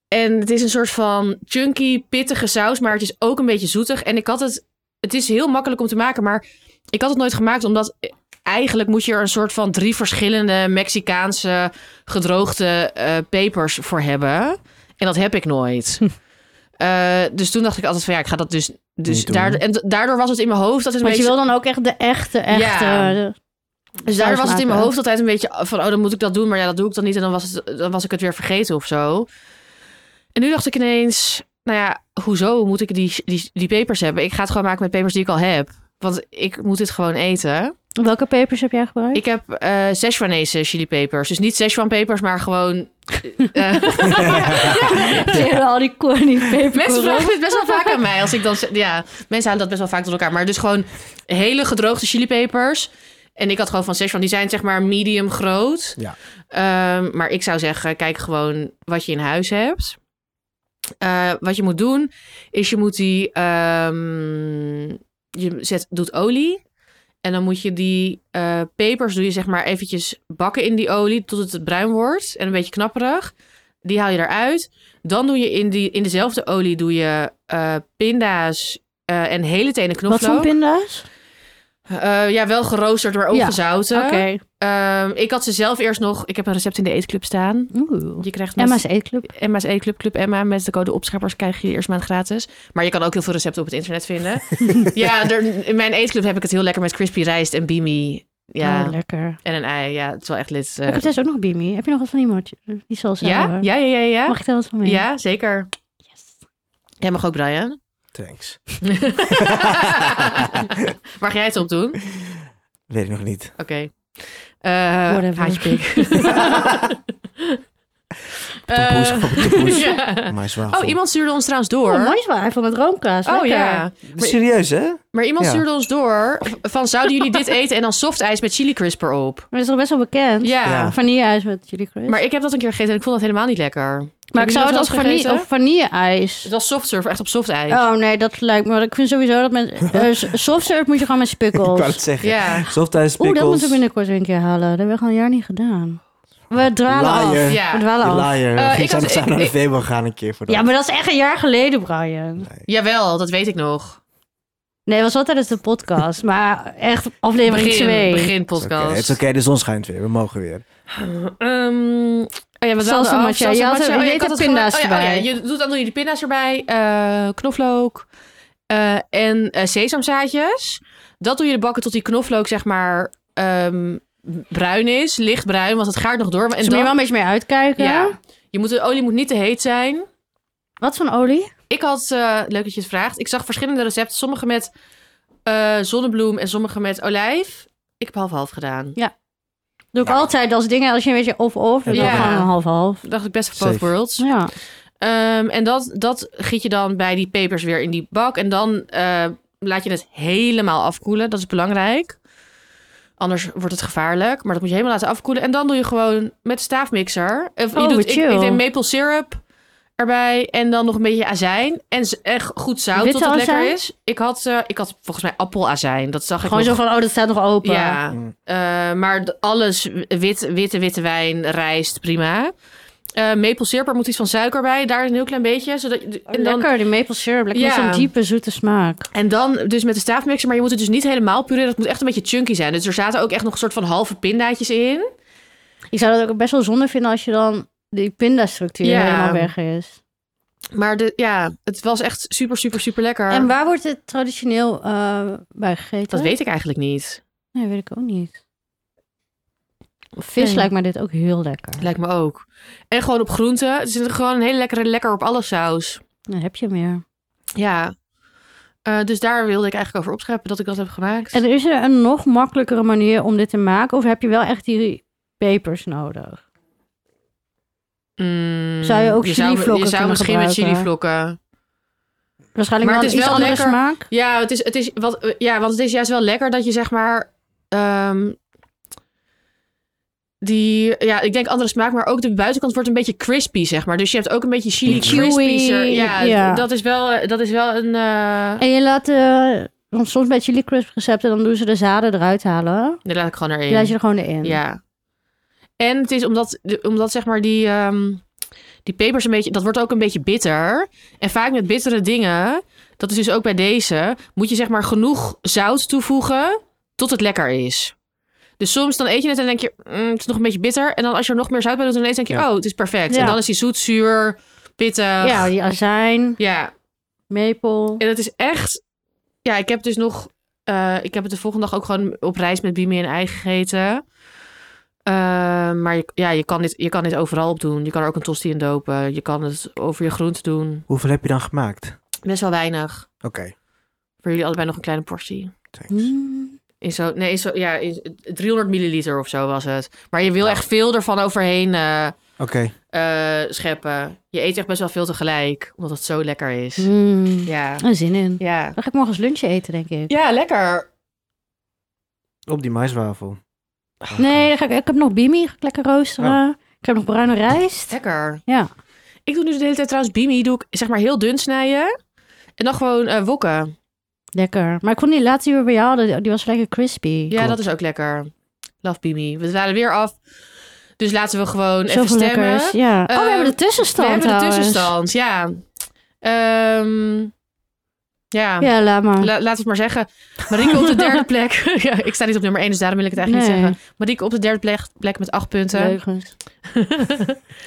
Speaker 2: en het is een soort van chunky, pittige saus, maar het is ook een beetje zoetig. En ik had het, het is heel makkelijk om te maken, maar ik had het nooit gemaakt omdat eigenlijk moet je er een soort van drie verschillende Mexicaanse gedroogde eh, pepers voor hebben. En dat heb ik nooit. Eh, dus toen dacht ik altijd van ja, ik ga dat dus. dus
Speaker 3: Niet doen.
Speaker 2: daardoor, en d- daardoor was het in mijn hoofd dat het een
Speaker 1: Want je
Speaker 2: beetje.
Speaker 1: wil dan ook echt de echte, echte... eh,
Speaker 2: Ja.
Speaker 1: de-
Speaker 2: Dus daar
Speaker 1: saus
Speaker 2: was het in
Speaker 1: maken.
Speaker 2: mijn hoofd altijd een beetje van, oh, dan moet ik dat doen, maar ja, dat doe ik dan niet. En dan was, het, dan was ik het weer vergeten of zo. En nu dacht ik ineens, nou ja, hoezo moet ik die, die, die pepers hebben? Ik ga het gewoon maken met pepers die ik al heb. Want ik moet dit gewoon eten.
Speaker 1: Welke pepers heb jij gebruikt?
Speaker 2: Ik heb eh Szechuanese chilipepers. Dus niet Szechuanpepers, maar gewoon... eh,
Speaker 1: Ja, al die corny pepers.
Speaker 2: Mensen vragen dit best wel vaak aan mij. Als ik dan, ze- ja, mensen halen dat best wel vaak door elkaar. Maar dus gewoon hele gedroogde chilipepers. En ik had gewoon van Szechuan. Die zijn zeg maar medium groot.
Speaker 3: Ja.
Speaker 2: Ehm, maar ik zou zeggen, kijk gewoon wat je in huis hebt. Eh, wat je moet doen, is je moet die... ehm, je zet, doet olie. En dan moet je die eh, pepers, doe je zeg maar eventjes bakken in die olie... tot het bruin wordt en een beetje knapperig. Die haal je eruit. Dan doe je in, die, in dezelfde olie doe je eh, pinda's eh, en hele tenen
Speaker 1: Wat
Speaker 2: knoflook.
Speaker 1: voor pinda's?
Speaker 2: Eh, ja, wel geroosterd, maar ook
Speaker 1: Ja,
Speaker 2: gezouten.
Speaker 1: Oké.
Speaker 2: Ehm, ik had ze zelf eerst nog... Ik heb een recept in de eetclub staan.
Speaker 1: Oeh.
Speaker 2: Je krijgt met-
Speaker 1: Emma's Eetclub.
Speaker 2: Emma's E-Club, E Club Emma. Met de code opscheppers krijg je de eerste maand gratis. Maar je kan ook heel veel recepten op het internet vinden. ja, er- in mijn eetclub heb ik het heel lekker met crispy rijst en bimi. Ja,
Speaker 1: Ah, lekker.
Speaker 2: en een ei. Ja, het is wel echt lid. eh.
Speaker 1: Ik heb thuis ook nog bimi. Heb je nog wat van die motje? Die salsa?
Speaker 2: ja? ja, ja, ja, ja.
Speaker 1: Mag ik daar wat van mee?
Speaker 2: ja, zeker.
Speaker 1: Yes.
Speaker 2: Jij mag ook, Brian.
Speaker 3: Thanks.
Speaker 2: mag jij het opdoen? Oké.
Speaker 3: Weet ik nog niet.
Speaker 2: Eh,
Speaker 1: Whatever.
Speaker 2: haantjepik.
Speaker 3: Tompoes,
Speaker 2: Eh,
Speaker 3: grappig, tompoes.
Speaker 2: ja.
Speaker 3: Maar zwaar.
Speaker 2: Oh, iemand stuurde ons trouwens door.
Speaker 1: Oh, mooi is wel. Hij vond het roomkaas.
Speaker 2: Oh
Speaker 1: lekker.
Speaker 2: ja,
Speaker 3: Serieus, hè?
Speaker 2: maar iemand
Speaker 3: Ja.
Speaker 2: stuurde ons door van zouden jullie dit eten en dan softijs met chili crisper op?
Speaker 1: Maar dat is toch best wel bekend.
Speaker 2: Ja.
Speaker 3: Ja.
Speaker 1: Vanille-ijs met jullie crisp.
Speaker 2: maar ik heb dat een keer gegeten en ik vond dat helemaal niet lekker. Hebben
Speaker 1: Maar ik
Speaker 2: jullie
Speaker 1: zou
Speaker 2: dat
Speaker 1: het
Speaker 2: wel
Speaker 1: als
Speaker 2: eens
Speaker 1: vanille,
Speaker 2: gegeten?
Speaker 1: of vanille-ijs.
Speaker 2: Het was soft serve, echt op soft ijs.
Speaker 1: Oh nee, dat lijkt me. want Ik vind sowieso dat met eh, s- soft serve moet je gewoon met
Speaker 3: Ik wou
Speaker 1: spikkels.
Speaker 3: het zeggen.
Speaker 2: Ja,
Speaker 3: Softijs,
Speaker 1: Oeh, dat
Speaker 3: pickles,
Speaker 1: moeten we binnenkort weer een keer halen. Dat hebben we al een jaar niet gedaan. We dwalen
Speaker 3: Liar.
Speaker 1: af. We
Speaker 2: ja.
Speaker 1: dwalen
Speaker 3: die
Speaker 1: af.
Speaker 3: liar.
Speaker 2: Eh,
Speaker 3: Ging
Speaker 2: ik had-
Speaker 3: samen
Speaker 2: ik-
Speaker 3: naar de
Speaker 2: ik-
Speaker 3: Vebo gaan een keer voor dat.
Speaker 1: Ja, maar dat is echt een jaar geleden, Brian.
Speaker 2: Jawel, dat weet ik nog.
Speaker 1: Nee, dat was wel tijdens de podcast. Maar echt aflevering
Speaker 2: Begin,
Speaker 1: 2.
Speaker 2: begin
Speaker 3: Is oké, Het is
Speaker 2: podcast.
Speaker 3: oké, de zon schijnt weer. We mogen weer.
Speaker 2: Ehm, oh ja, wat
Speaker 1: Salsa
Speaker 2: hadden we
Speaker 1: matcha.
Speaker 2: af?
Speaker 1: Je had er-
Speaker 2: matcha.
Speaker 1: je
Speaker 2: ik
Speaker 1: deed
Speaker 2: had
Speaker 1: er
Speaker 2: het gewoon-
Speaker 1: pinda's
Speaker 2: oh ja, oh ja,
Speaker 1: erbij.
Speaker 2: je doet dan doe je de pinda's erbij, eh, knoflook eh, en eh, sesamzaadjes. Dat doe je de bakken tot die knoflook zeg maar ehm, bruin is, lichtbruin, want het gaat nog door. En
Speaker 1: Dus moet je wel
Speaker 2: dan,
Speaker 1: een beetje mee uitkijken.
Speaker 2: ja, je moet, de olie moet niet te heet zijn.
Speaker 1: Wat voor olie?
Speaker 2: Ik had, eh, leuk dat je het vraagt, ik zag verschillende recepten. Sommige met eh, zonnebloem en sommige met olijf. Ik heb half-half gedaan.
Speaker 1: Doe ik
Speaker 3: Nou.
Speaker 1: altijd als dingen, als je een beetje of-of.
Speaker 3: Ja.
Speaker 1: Ja. Gewoon een half-half.
Speaker 2: Dacht ik best voor both
Speaker 3: Safe.
Speaker 2: worlds.
Speaker 1: Ja.
Speaker 2: Ehm, en dat, dat giet je dan bij die pepers weer in die bak. En dan eh, laat je het helemaal afkoelen. Dat is belangrijk. Anders wordt het gevaarlijk. Maar dat moet je helemaal laten afkoelen. En dan doe je gewoon met de staafmixer. Of, je
Speaker 1: Oh,
Speaker 2: doet,
Speaker 1: wat
Speaker 2: ik,
Speaker 1: chill.
Speaker 2: ik deed maple syrup erbij. En dan nog een beetje azijn. En z- echt goed zout
Speaker 1: Witte
Speaker 2: tot het lekker
Speaker 1: azijn?
Speaker 2: is. Ik had, eh, ik had volgens mij appelazijn. Dat zag
Speaker 1: Gewoon
Speaker 2: ik
Speaker 1: zo
Speaker 2: nog.
Speaker 1: van, oh, dat staat nog open.
Speaker 2: Ja,
Speaker 3: Mm.
Speaker 2: eh, maar d- alles, wit, witte, witte wijn, rijst, prima. Eh maple syrup, er moet iets van suiker bij. Daar een heel klein beetje. Zodat, je-
Speaker 1: Oh,
Speaker 2: en, dan,
Speaker 1: lekker, die maple syrup. Lekker
Speaker 2: Ja.
Speaker 1: met zo'n diepe, zoete smaak.
Speaker 2: en dan dus met de staafmixer. Maar je moet het dus niet helemaal pureren. Het moet echt een beetje chunky zijn. Dus er zaten ook echt nog een soort van halve pindaatjes in.
Speaker 1: Ik zou dat ook best wel zonde vinden als je dan die pindastructuur
Speaker 2: Ja.
Speaker 1: helemaal weg is.
Speaker 2: Maar de, ja, het was echt super, super, super lekker.
Speaker 1: En waar wordt het traditioneel eh, bij gegeten?
Speaker 2: Dat weet ik eigenlijk niet.
Speaker 1: Nee, weet ik ook niet. Vis lijkt me dit ook heel lekker.
Speaker 2: Lijkt me ook. En gewoon op groenten. Het is gewoon een hele lekkere lekker op alles saus.
Speaker 1: Dan heb je meer.
Speaker 2: Ja. Eh, dus daar wilde ik eigenlijk over opscheppen dat ik dat heb gemaakt.
Speaker 1: En is er een nog makkelijkere manier om dit te maken? Of heb je wel echt die pepers nodig?
Speaker 2: Mm,
Speaker 1: Zou je ook
Speaker 2: zou-
Speaker 1: chilivlokken
Speaker 2: Je zou
Speaker 1: kunnen
Speaker 2: misschien
Speaker 1: gebruiken?
Speaker 2: met chilivlokken.
Speaker 1: Waarschijnlijk
Speaker 2: Maar het
Speaker 1: wel een
Speaker 2: is
Speaker 1: iets
Speaker 2: wel
Speaker 1: andere
Speaker 2: lekker.
Speaker 1: smaak.
Speaker 2: Ja, het is, het is, wat, eh, ja, want het is juist wel lekker dat je zeg maar... ehm, die, ja, ik denk andere smaak, maar ook de buitenkant wordt een beetje crispy, zeg maar. Dus je hebt ook een beetje chili
Speaker 3: Chewy,
Speaker 2: crispy. Ja,
Speaker 1: ja.
Speaker 2: Dat, is wel, eh, dat is wel een... eh
Speaker 1: En je laat... eh, want soms bij chili crisp recepten, dan doen ze de zaden eruit halen.
Speaker 2: Die laat ik gewoon erin.
Speaker 1: Die laat je er gewoon in.
Speaker 2: Ja. En het is omdat, de- omdat zeg maar die, ehm, die pepers een beetje, dat wordt ook een beetje bitter. En vaak met bittere dingen, dat is dus ook bij deze, moet je zeg maar genoeg zout toevoegen tot het lekker is. Dus soms dan eet je het en denk je, "Mm, het is nog een beetje bitter. En dan als je er nog meer zout bij doet, dan ineens denk je,
Speaker 3: Ja.
Speaker 2: oh, het is perfect.
Speaker 1: Ja.
Speaker 2: En dan is die zoet, zuur, pittig.
Speaker 1: Ja, die azijn,
Speaker 2: ja.
Speaker 1: maple.
Speaker 2: En het is echt. Ja, ik heb dus nog. eh, ik heb het de volgende dag ook gewoon op reis met Bimi en Ei gegeten. Eh, maar je, ja, je kan, dit, je kan dit overal op doen. Je kan er ook een tosti in dopen. Je kan het over je groente doen.
Speaker 3: Hoeveel heb je dan gemaakt?
Speaker 2: Best wel weinig.
Speaker 3: Oké,
Speaker 2: Voor jullie allebei nog een kleine portie.
Speaker 3: thanks.
Speaker 2: Hmm.
Speaker 1: Mm.
Speaker 2: In zo, nee, in zo, ja, in 300 milliliter of zo was het. Maar je wil echt veel ervan overheen eh,
Speaker 3: Oké,
Speaker 2: eh, scheppen. Je eet echt best wel veel tegelijk. Omdat het zo lekker is.
Speaker 1: Mm.
Speaker 2: Ja.
Speaker 1: Er zin in.
Speaker 2: Ja.
Speaker 1: Dan ga ik morgen eens lunchje eten, denk ik.
Speaker 2: ja, lekker.
Speaker 3: op die maiswafel.
Speaker 1: Nee, dan ga ik, ik heb nog bimi, ga ik lekker roosteren.
Speaker 2: Oh.
Speaker 1: Ik heb nog bruine rijst.
Speaker 2: Lekker.
Speaker 1: Ja.
Speaker 2: Ik doe nu de hele tijd trouwens bimi, doe ik zeg maar heel dun snijden. En dan gewoon eh, wokken.
Speaker 1: Lekker. Maar ik vond die laatste die we bij jou hadden, die- die was lekker crispy.
Speaker 2: Ja, dat is ook lekker. Love bimi. We dwalen weer af. Dus laten we gewoon even
Speaker 1: Zoveel
Speaker 2: stemmen.
Speaker 1: lekkers. Ja. oh, we
Speaker 2: Ehm,
Speaker 1: hebben de tussenstand
Speaker 2: we hebben de
Speaker 1: trouwens.
Speaker 2: tussenstand, ja. Ehm, ja,
Speaker 1: Ja, laat maar.
Speaker 2: La- laten we het maar zeggen. Marieke op de derde plek. ja, ik sta niet op nummer één, dus daarom wil ik het eigenlijk
Speaker 1: Nee.
Speaker 2: niet zeggen. Marieke op de derde plek, plek met acht punten.
Speaker 1: Leugens.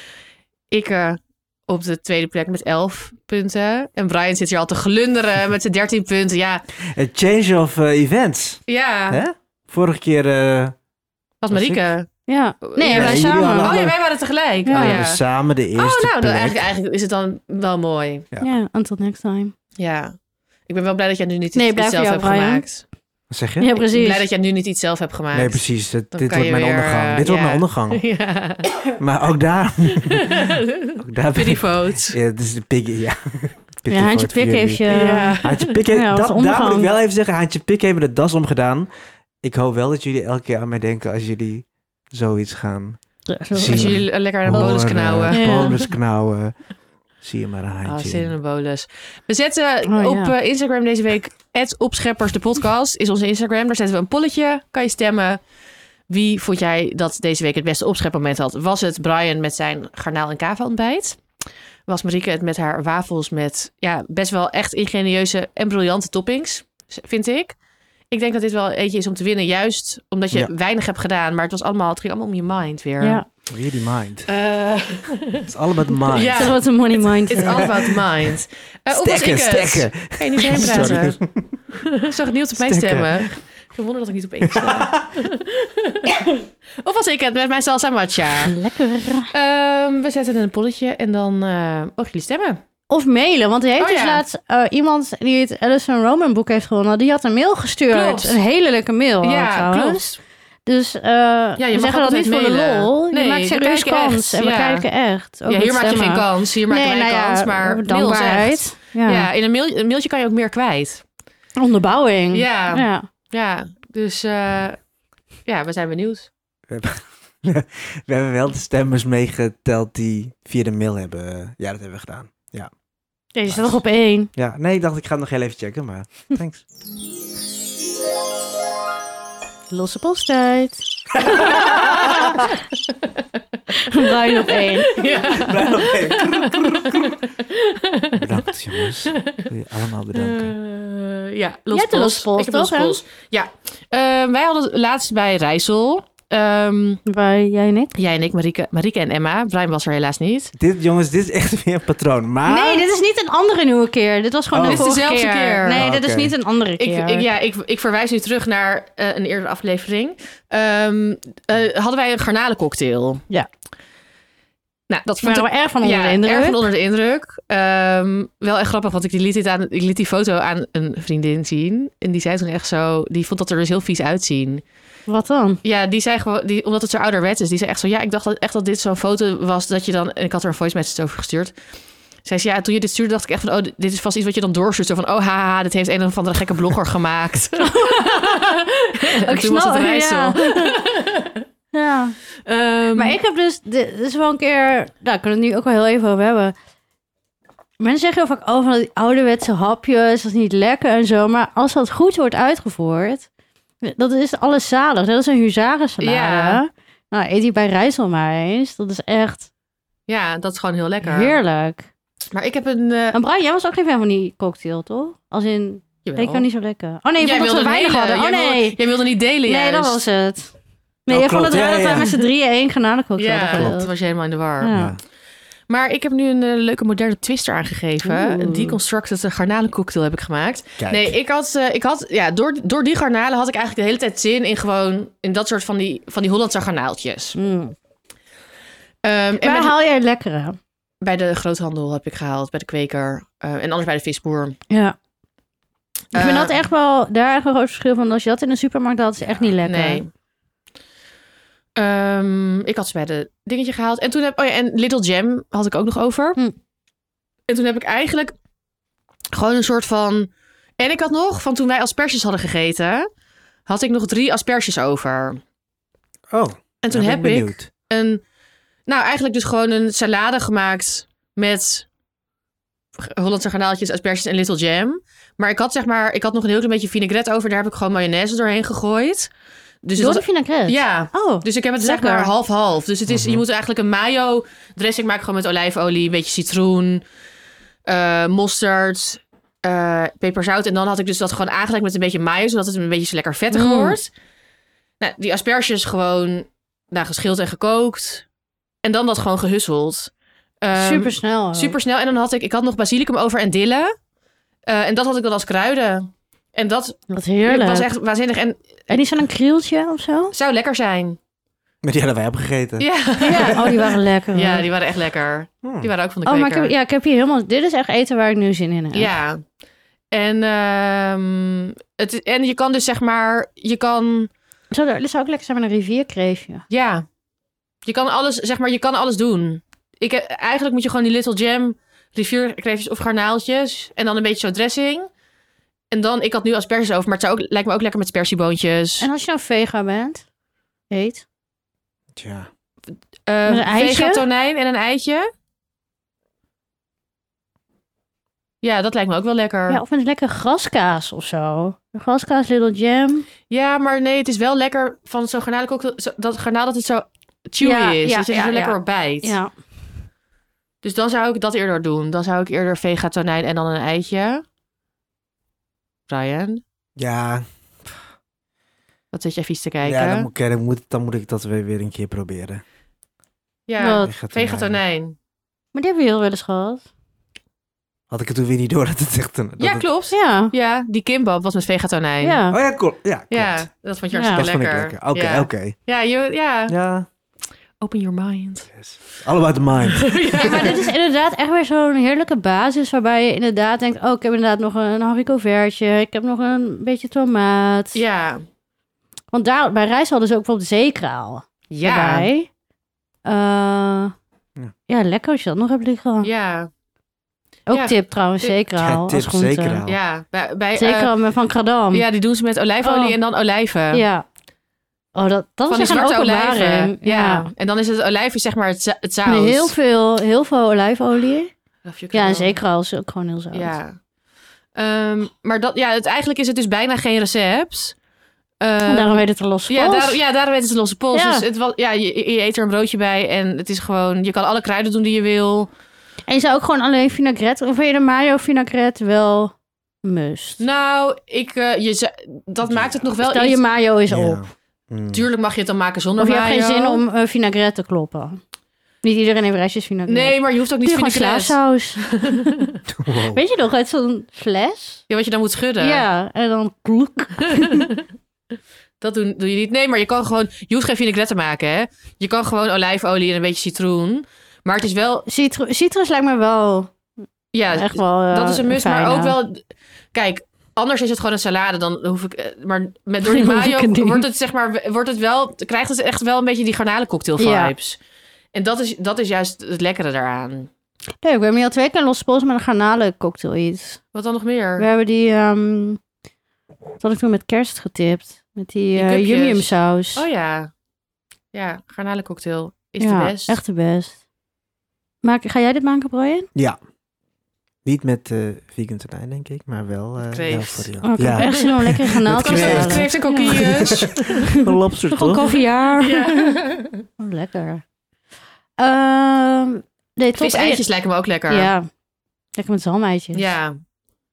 Speaker 2: ik eh, op de tweede plek met 11 punten. En Brian zit hier al te glunderen met zijn 13 punten. Ja,
Speaker 3: A change of eh, events.
Speaker 2: ja.
Speaker 3: Hè? Vorige keer eh
Speaker 2: Was
Speaker 3: Was
Speaker 2: Marieke.
Speaker 1: Ja. Nee,
Speaker 2: Ja,
Speaker 1: wij
Speaker 3: jullie
Speaker 1: samen.
Speaker 3: hadden-
Speaker 2: Oh ja,
Speaker 3: Alle-
Speaker 2: wij waren tegelijk.
Speaker 1: Ja.
Speaker 2: Oh,
Speaker 3: hadden
Speaker 2: ja.
Speaker 3: we samen de eerste
Speaker 2: oh nou, dan
Speaker 3: plek.
Speaker 2: eigenlijk, eigenlijk is het dan wel mooi.
Speaker 1: Ja, until next time.
Speaker 2: Ja. Ik ben wel blij dat jij nu niet
Speaker 1: Nee,
Speaker 2: iets
Speaker 1: blijf
Speaker 2: zelf
Speaker 1: voor
Speaker 2: hebt
Speaker 1: jou, Brian.
Speaker 2: gemaakt.
Speaker 3: Wat zeg je?
Speaker 1: Ja,
Speaker 2: Ik ben
Speaker 1: precies.
Speaker 2: blij dat jij nu niet iets zelf hebt gemaakt.
Speaker 3: Nee, precies. Dit,
Speaker 2: Dan
Speaker 3: dit
Speaker 2: kan
Speaker 3: wordt
Speaker 2: je
Speaker 3: mijn
Speaker 2: weer,
Speaker 3: ondergang.
Speaker 2: eh,
Speaker 3: dit wordt
Speaker 2: ja.
Speaker 3: mijn ondergang.
Speaker 2: ja.
Speaker 3: Maar ook daar... ook daar ben
Speaker 2: Pity
Speaker 3: ik...
Speaker 2: votes.
Speaker 3: Ja, dit is de piggy, ja. Pity
Speaker 1: ja, handje
Speaker 3: vote
Speaker 1: pik
Speaker 3: voor jullie.
Speaker 1: heeft je...
Speaker 2: Ja.
Speaker 3: Haantje Pik heeft,
Speaker 1: Ja, wat
Speaker 3: dat-
Speaker 1: een
Speaker 3: daar moet ik
Speaker 1: omgang.
Speaker 3: wel even zeggen, Haantje Pik heeft me de das omgedaan. Ik hoop wel dat jullie elke keer aan mij denken als jullie zoiets gaan
Speaker 1: Ja, zo-
Speaker 3: Zie
Speaker 2: Als
Speaker 3: je.
Speaker 2: jullie lekker aan de bolus
Speaker 3: horen,
Speaker 2: knauwen.
Speaker 1: Ja.
Speaker 3: Bonus knauwen. Zie je maar een
Speaker 2: Ah,
Speaker 3: haantje.
Speaker 2: zin in een bolus. We zetten
Speaker 1: Oh, ja.
Speaker 2: op eh, Instagram deze week... opscheppers de podcast is onze Instagram. Daar zetten we een polletje. Kan je stemmen. Wie vond jij dat deze week het beste opschepmoment had? Was het Brian met zijn garnaal- en kava-ontbijt? Was Marieke het met haar wafels met ja, best wel echt ingenieuze en briljante toppings? z- Vind ik. Ik denk dat dit wel eentje is om te winnen. Juist omdat je
Speaker 3: Ja.
Speaker 2: weinig hebt gedaan. Maar het, was allemaal, het ging allemaal om je mind weer.
Speaker 1: Ja,
Speaker 3: Really mind.
Speaker 2: Eh,
Speaker 3: Het is allemaal de mind.
Speaker 2: Ja.
Speaker 1: dat is wat een money mind.
Speaker 2: It's all about the mind. Eh, of was
Speaker 3: Stekken,
Speaker 2: ik het?
Speaker 3: stekken.
Speaker 2: Kan je niet heen praten? Zo genieuwd op mij
Speaker 3: Stekken.
Speaker 2: stemmen. Gewonnen dat ik niet op één stem. of was ik het met mijn salsa matcha?
Speaker 1: Lekker.
Speaker 2: Ehm, we zetten een polletje en dan eh mogen jullie stemmen.
Speaker 1: Of mailen, want er heeft
Speaker 2: Oh,
Speaker 1: dus
Speaker 2: ja.
Speaker 1: laatst eh, iemand die het Alison Roman boek heeft gewonnen. Die had een mail gestuurd.
Speaker 2: Klopt.
Speaker 1: Een hele leuke mail
Speaker 2: ja,
Speaker 1: ja, trouwens.
Speaker 2: klopt.
Speaker 1: Dus eh
Speaker 2: je
Speaker 1: we
Speaker 2: mag
Speaker 1: zeggen
Speaker 2: ook
Speaker 1: dat niet
Speaker 2: altijd
Speaker 1: voor de
Speaker 2: mailen.
Speaker 1: lol.
Speaker 2: Nee,
Speaker 1: je maakt
Speaker 2: we
Speaker 1: serieus
Speaker 2: kijken echt,
Speaker 1: kans en we
Speaker 2: ja.
Speaker 1: kijken echt. Ook
Speaker 2: Ja, hier
Speaker 1: met
Speaker 2: maak je geen
Speaker 1: stemmen.
Speaker 2: kans, hier maak je
Speaker 1: nee,
Speaker 2: geen
Speaker 1: nou ja,
Speaker 2: kans, maar dankbaarheid.
Speaker 1: dankbaarheid. Ja.
Speaker 2: Ja. in een, mail, een mailtje kan je ook meer kwijt.
Speaker 1: Onderbouwing.
Speaker 2: Ja, ja.
Speaker 1: Mm. Ja.
Speaker 2: dus eh, ja, we zijn benieuwd.
Speaker 3: We hebben wel de stemmers meegeteld die via de mail hebben. eh, Ja, dat hebben we gedaan.
Speaker 1: Deze staat nog op één.
Speaker 3: Ja, nee, ik dacht ik ga hem nog heel even checken, maar thanks.
Speaker 1: Losse posttijd. Bruin op één.
Speaker 3: Blij nog even. bedankt jongens. Wil je allemaal bedanken.
Speaker 2: Eh, ja,
Speaker 1: Jij hebt de lospols,
Speaker 2: Ik heb
Speaker 1: toch, hè?
Speaker 2: lospols. Ja. Eh, wij hadden laatst bij Rijssel. ehm,
Speaker 1: Bij jij en ik.
Speaker 2: jij en ik, Marieke, Marieke en Emma. Brian was er helaas niet.
Speaker 3: Dit jongens, dit is echt weer een patroon. Maar
Speaker 1: Nee, dit is niet een andere nieuwe keer. Ah. Dit was gewoon
Speaker 3: Oh.
Speaker 1: de
Speaker 3: Dit is
Speaker 1: vorige
Speaker 2: dezelfde keer.
Speaker 1: Nee,
Speaker 3: Oh,
Speaker 1: dit is
Speaker 3: oké.
Speaker 1: niet een andere
Speaker 2: Ik,
Speaker 1: keer.
Speaker 2: ik, ja, ik, ik verwijs nu terug naar eh, een eerdere aflevering. Ehm, eh, hadden wij een garnalencocktail.
Speaker 1: Ja.
Speaker 2: Nou, dat vond
Speaker 1: waren
Speaker 2: ik
Speaker 1: we erg van onder de indruk.
Speaker 2: erg van onder de indruk. Ehm, wel echt grappig, want ik liet, dit aan, ik liet die foto aan een vriendin zien. En die zei toen echt zo... Die vond dat er dus heel vies uitzien.
Speaker 1: Wat dan?
Speaker 2: Ja, die zei gewoon, die, omdat het zo ouderwets is, die zei echt zo, ja, ik dacht dat, echt dat dit zo'n foto was dat je dan, en ik had er een voice message over gestuurd. Zei ze, ja, toen je dit stuurde, dacht ik echt van, oh, dit- dit is vast iets wat je dan doorstuurt. Zo van, oh, haha, dit heeft een of andere gekke blogger gemaakt. en toen was het rijsel.
Speaker 1: Oh, ja. ja.
Speaker 2: Ehm,
Speaker 1: Maar ik heb dus, dit is wel een keer, nou, daar kunnen we het nu ook wel heel even over hebben. Mensen zeggen heel vaak, oh, van die ouderwetse hapjes, dat is niet lekker en zo. Maar als dat goed wordt uitgevoerd, dat is alles zalig. Dat is een huzarensalade.
Speaker 2: Ja.
Speaker 1: Nou, eet die bij Rijssel maar eens. Dat is echt
Speaker 2: Ja, dat is gewoon heel lekker.
Speaker 1: heerlijk.
Speaker 2: Maar ik heb een... eh
Speaker 1: En Brian, jij was ook geen fan van die cocktail, toch? Als in,
Speaker 2: jawel.
Speaker 1: ik vond het niet zo lekker. Oh nee, je
Speaker 2: Jij
Speaker 1: vond dat
Speaker 2: wilde
Speaker 1: we weinig
Speaker 2: delen.
Speaker 1: hadden. Oh
Speaker 2: Jij wilde-
Speaker 1: nee.
Speaker 2: Jij wilde niet delen,
Speaker 1: Nee, dat
Speaker 2: juist.
Speaker 1: was het. Nee,
Speaker 3: Oh,
Speaker 1: je vond
Speaker 3: klopt.
Speaker 1: het raar
Speaker 3: Ja,
Speaker 1: dat
Speaker 3: ja,
Speaker 1: wij
Speaker 3: ja.
Speaker 1: met z'n drieën één granalencocktail
Speaker 2: Ja,
Speaker 1: hadden.
Speaker 2: dat was je helemaal in de war.
Speaker 1: Ja.
Speaker 2: Maar ik heb nu een eh, leuke moderne twist eraan gegeven.
Speaker 1: Oeh.
Speaker 2: Een deconstructed eh, garnalencocktail heb ik gemaakt.
Speaker 3: Kijk.
Speaker 2: Nee, ik had, eh, ik had ja, door, door die garnalen had ik eigenlijk de hele tijd zin in gewoon in dat soort van die, van die Hollandse garnaaltjes.
Speaker 1: Mm.
Speaker 2: Ehm, en
Speaker 1: Waar
Speaker 2: bij de,
Speaker 1: haal jij het lekkere?
Speaker 2: bij de groothandel heb ik gehaald, bij de kweker eh, en anders bij de visboer.
Speaker 1: Ja. Ik vind
Speaker 2: Eh,
Speaker 1: dat echt wel, daar echt een groot verschil van. Als je dat in een supermarkt had, is echt niet lekker.
Speaker 2: Nee. Ehm, ik had ze bij de dingetje gehaald. En toen heb oh ja, en Little Jam had ik ook nog over.
Speaker 1: Hm.
Speaker 2: En toen heb ik eigenlijk gewoon een soort van. En ik had nog van toen wij asperges hadden gegeten, had ik nog drie asperges over.
Speaker 3: Oh,
Speaker 2: En toen
Speaker 3: nou ben
Speaker 2: heb ik
Speaker 3: benieuwd.
Speaker 2: een, nou eigenlijk dus gewoon een salade gemaakt met Hollandse garnaaltjes, asperges en little jam. Maar ik had zeg maar, ik had nog een heel klein beetje vinaigrette over. Daar heb ik gewoon mayonaise doorheen gegooid. Dus het
Speaker 1: Door
Speaker 2: was-
Speaker 1: de vinaigrette?
Speaker 2: ja,
Speaker 1: Oh,
Speaker 2: dus ik heb het
Speaker 1: Lekker.
Speaker 2: zeg maar half-half. Dus het is,
Speaker 3: Mhm.
Speaker 2: je moet eigenlijk een mayo dressing maken gewoon met olijfolie, een beetje citroen, eh, mosterd, eh peperzout. En dan had ik dus dat gewoon aangelegd met een beetje mayo, zodat het een beetje lekker vettig
Speaker 1: Mm.
Speaker 2: wordt. Nou, die asperges gewoon nou, geschild en gekookt. En dan dat gewoon gehusseld. Ehm,
Speaker 1: super snel.
Speaker 2: Super snel. En dan had ik, ik had nog basilicum over en dille. Eh, en dat had ik dan als kruiden. En dat
Speaker 1: Wat heerlijk.
Speaker 2: was echt waanzinnig. En
Speaker 1: En is er een krieltje of zo?
Speaker 2: zou lekker zijn.
Speaker 3: Maar die hadden wij opgegeten.
Speaker 2: Ja.
Speaker 1: Ja. Oh, die waren lekker. hoor.
Speaker 2: Ja, die waren echt lekker.
Speaker 3: Hmm.
Speaker 2: Die waren ook van de
Speaker 1: Oh, maar ik
Speaker 2: kweker.
Speaker 1: heb, ja, ik heb hier helemaal... Dit is echt eten waar ik nu zin in heb.
Speaker 2: ja. En, ehm, het, en je kan dus zeg maar, je kan,
Speaker 1: Zou, er, zou ook lekker zijn met een rivierkreefje.
Speaker 2: ja, je kan alles, zeg maar, je kan alles doen. Ik, heb- eigenlijk moet je gewoon die Little Jam, rivierkreefjes of garnaaltjes en dan een beetje zo'n dressing. En dan, ik had nu asperges over, maar het zou ook, lijkt me ook lekker met spersieboontjes.
Speaker 1: En als je nou vega bent, eet.
Speaker 3: Tja.
Speaker 2: Eh,
Speaker 1: Met een eitje?
Speaker 2: vega tonijn en een eitje. Ja, dat lijkt me ook wel lekker.
Speaker 1: Ja,
Speaker 2: Ja.
Speaker 1: of met lekker graskaas of zo. Een Graskaas, little jam.
Speaker 2: maar nee, het is wel lekker van zo'n garnalencocktail. zo- Dat garnaal dat het zo chewy
Speaker 1: Ja,
Speaker 2: is.
Speaker 1: ja,
Speaker 2: dat je er
Speaker 1: ja,
Speaker 2: zo lekker
Speaker 1: ja.
Speaker 2: op bijt.
Speaker 1: Ja.
Speaker 2: Dus dan zou ik dat eerder doen. Dan zou ik eerder vega tonijn en dan een eitje. Brian,
Speaker 3: Ja,
Speaker 2: wat zit je even iets te kijken?
Speaker 3: ja dan, moet ik, dan, moet, dan moet ik dat weer, weer een keer proberen.
Speaker 2: Ja,
Speaker 1: Wat?
Speaker 2: vega tonijn.
Speaker 1: Maar die hebben we heel wel eens gehad.
Speaker 3: Had ik het toen weer niet door dat het echt een... dat
Speaker 2: Ja,
Speaker 3: het-
Speaker 2: klopt.
Speaker 1: Ja.
Speaker 2: Ja, die kimbap was met vega tonijn.
Speaker 1: Ja.
Speaker 3: Oh ja, cool. Ja, klopt.
Speaker 2: Ja, dat vond je hartstikke
Speaker 1: Ja.
Speaker 3: Dat vond ik
Speaker 2: lekker.
Speaker 3: lekker. Oké,
Speaker 2: ja.
Speaker 3: oké.
Speaker 2: Ja, je, ja,
Speaker 3: Ja.
Speaker 2: open your mind.
Speaker 3: Yes. All about the mind.
Speaker 1: Ja, maar dit is inderdaad echt weer zo'n heerlijke basis waarbij je inderdaad denkt, oh, ik heb inderdaad nog een haricovertje, ik heb nog een beetje tomaat.
Speaker 2: Ja.
Speaker 1: Want daar, bij rijst hadden ze ook bijvoorbeeld zeekraal
Speaker 2: Ja.
Speaker 1: erbij. Eh,
Speaker 3: Ja.
Speaker 1: ja. lekker als je dat nog hebt liggen.
Speaker 2: Ja.
Speaker 1: Ook
Speaker 2: Ja.
Speaker 1: tip trouwens, zeekraal
Speaker 3: Ja,
Speaker 1: als
Speaker 3: tip,
Speaker 1: groente.
Speaker 3: zeekraal.
Speaker 2: Ja. Bij, bij, eh,
Speaker 1: Zeekraal met van Kradam. Ja.
Speaker 2: ja, die doen ze met olijfolie
Speaker 1: Oh.
Speaker 2: en dan olijven.
Speaker 1: Oh, dat, dat
Speaker 2: Van die
Speaker 1: is echt een
Speaker 2: zwarte olijven.
Speaker 1: openbaring.
Speaker 2: Ja. En dan is het olijven zeg maar het, za- het zout.
Speaker 1: Met heel veel, heel veel olijfolie.
Speaker 2: Of je kan
Speaker 1: Ja, en
Speaker 2: wel-
Speaker 1: zeekraal is ook gewoon heel zout.
Speaker 2: Ja. Ehm, maar dat, ja, het, eigenlijk is het dus bijna geen recept. Ehm,
Speaker 1: En daarom heet het een losse
Speaker 2: ja,
Speaker 1: pols.
Speaker 2: daar, ja, daarom heet het losse pols.
Speaker 1: Ja.
Speaker 2: Dus het, wa- ja, je, je eet er een broodje bij en het is gewoon... Je kan alle kruiden doen die je wil.
Speaker 1: En je zou ook gewoon alleen vinaigrette, of vind je de mayo vinaigrette wel must?
Speaker 2: Nou, ik, eh, je, ze- dat maakt het nog wel
Speaker 1: Stel
Speaker 2: iets...
Speaker 1: je mayo is op.
Speaker 3: Mm.
Speaker 2: Tuurlijk mag je het dan maken zonder
Speaker 1: Of je hebt geen
Speaker 2: mayo.
Speaker 1: zin om eh vinaigrette te kloppen. Niet iedereen heeft restjes vinaigrette.
Speaker 2: Nee, maar je hoeft ook niet
Speaker 1: Doe gewoon
Speaker 2: vinaigrette.
Speaker 1: slaapsaus.
Speaker 3: Wow.
Speaker 1: Weet je nog, uit zo'n fles?
Speaker 2: Ja, wat je dan moet schudden.
Speaker 1: Ja, en dan kloek.
Speaker 2: Dat doen, doe je niet. Nee, maar je kan gewoon... Je hoeft geen vinaigrette te maken, hè. Je kan gewoon olijfolie en een beetje citroen. Maar het is wel...
Speaker 1: Citru- citrus lijkt me wel
Speaker 2: Ja,
Speaker 1: echt wel eh,
Speaker 2: dat is een must.
Speaker 1: fijne.
Speaker 2: Maar ook wel... Kijk, anders is het gewoon een salade. Dan hoef ik... eh, Maar met door die
Speaker 1: Dan hoef ik
Speaker 2: mayo
Speaker 1: het niet.
Speaker 2: wordt het zeg maar... Wordt het wel... Krijgt het echt wel een beetje die garnalencocktail
Speaker 1: Ja.
Speaker 2: vibes. En dat is, dat is juist het lekkere daaraan.
Speaker 1: Nee, ik ben nu al twee keer los met een garnalencocktail iets.
Speaker 2: Wat dan nog meer?
Speaker 1: We hebben die... ehm dat had ik toen met kerst getipt. Met die,
Speaker 2: Die
Speaker 1: eh
Speaker 2: cupjes.
Speaker 1: yum saus.
Speaker 2: Oh ja. Ja, garnalencocktail is
Speaker 1: ja,
Speaker 2: de best.
Speaker 1: echt de best. Maak, ga jij dit maken, Brian?
Speaker 3: Ja. Niet met eh vegan tonijn, denk ik, maar wel... eh
Speaker 2: Kreeft.
Speaker 3: wel voor die-
Speaker 1: Oh, ik heb
Speaker 3: ja,
Speaker 1: echt zin om lekker
Speaker 3: Met
Speaker 1: granaat
Speaker 2: Kan
Speaker 1: te
Speaker 3: kreeft.
Speaker 2: het met
Speaker 1: halen.
Speaker 2: kreeft en kokkies?
Speaker 3: een lobster
Speaker 1: Gewoon
Speaker 3: toch?
Speaker 1: caviar.
Speaker 2: eh, Ja.
Speaker 1: Oh, lekker. Ehm nee, top
Speaker 2: Vis eitjes lijken me ook lekker.
Speaker 1: Ja. Lekker met zalmeitjes.
Speaker 2: Ja.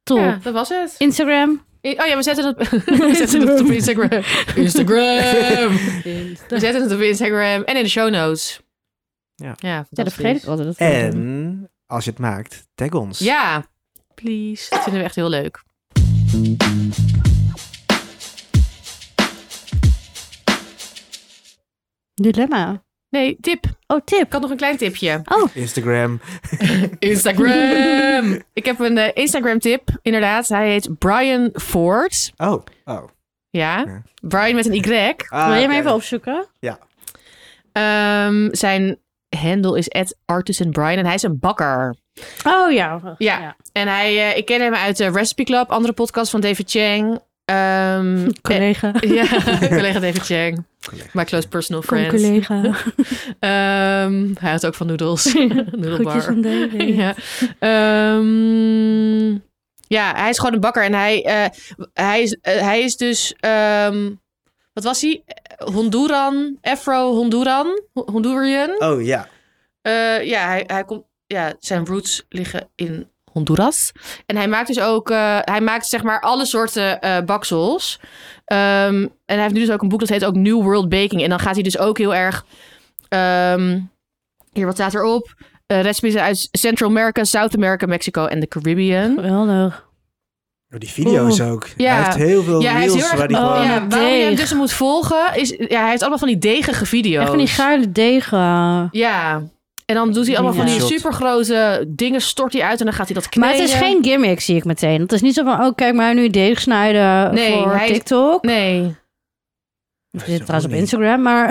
Speaker 1: Top.
Speaker 2: Ja, dat was het.
Speaker 1: Instagram.
Speaker 2: I- Oh ja, we zetten het, we zetten het op Instagram. Instagram! We zetten het op Instagram en in de show notes.
Speaker 3: Ja.
Speaker 2: ja,
Speaker 1: Ja, dat vergeet ik altijd. Dat we dat doen.
Speaker 3: En als je het maakt, tag ons.
Speaker 2: Ja, please. Dat vinden we echt heel leuk.
Speaker 1: Dilemma.
Speaker 2: Nee, tip.
Speaker 1: Oh,
Speaker 2: Ik
Speaker 1: tip.
Speaker 2: had nog een klein tipje.
Speaker 3: Instagram.
Speaker 2: Instagram! ik heb een eh, Instagram tip, inderdaad. Hij heet Brian Ford.
Speaker 3: Oh. Oh.
Speaker 2: Ja,
Speaker 3: Ja.
Speaker 2: Brian met een Y.
Speaker 3: Ah,
Speaker 1: Wil je hem even opzoeken?
Speaker 2: Ehm, zijn handle is @artisanbrian en hij is een bakker.
Speaker 1: Oh ja.
Speaker 2: Ja. En hij, eh, ik ken hem uit de Recipe Club, andere podcast van David Chang. Ehm,
Speaker 1: Collega.
Speaker 2: eh, ja, collega David Chang.
Speaker 3: Collega.
Speaker 2: My close personal
Speaker 1: Kom,
Speaker 2: friend.
Speaker 1: collega.
Speaker 2: Ehm, hij houdt ook van noedels.
Speaker 1: Groetjes
Speaker 2: Noedelbar.
Speaker 1: van David.
Speaker 2: ja. Ehm, ja, hij is gewoon een bakker en hij, eh, hij, is, eh, hij is dus. ehm, wat was hij? Honduran, Afro-Honduran, Ho- Hondurian.
Speaker 3: Oh ja.
Speaker 2: Eh, ja, hij, hij komt, ja, zijn roots liggen in Honduras. En hij maakt dus ook, eh, hij maakt zeg maar alle soorten eh, baksels. Ehm, en hij heeft nu dus ook een boek dat heet ook New World Baking. En dan gaat hij dus ook heel erg, ehm, hier wat staat erop? Eh recipes uit Central America, South America, Mexico en de Caribbean.
Speaker 1: Geweldig.
Speaker 3: Oh, Die video's ook.
Speaker 2: Ja.
Speaker 3: Hij heeft heel veel
Speaker 2: Ja, hij is
Speaker 3: reels
Speaker 2: heel erg-
Speaker 3: waar die
Speaker 1: oh,
Speaker 3: gewoon...
Speaker 1: ja.
Speaker 2: Ja, waarom je hem
Speaker 1: deeg.
Speaker 2: dus moet volgen is, ja, hij heeft allemaal van die degige video's.
Speaker 1: Echt van die gaarde degen.
Speaker 2: Ja. En dan doet hij allemaal van
Speaker 1: Ja.
Speaker 2: die
Speaker 3: Shot.
Speaker 2: supergrote dingen, stort hij uit en dan gaat hij dat kneden.
Speaker 1: Maar het is geen gimmick, zie ik meteen. Het is niet zo van, oh kijk maar, nu deeg snijden
Speaker 2: Nee,
Speaker 1: voor
Speaker 2: hij-
Speaker 1: TikTok.
Speaker 2: Nee,
Speaker 1: Of
Speaker 3: Dat is
Speaker 1: zit trouwens
Speaker 3: ook
Speaker 1: op
Speaker 3: niet.
Speaker 1: Instagram, maar...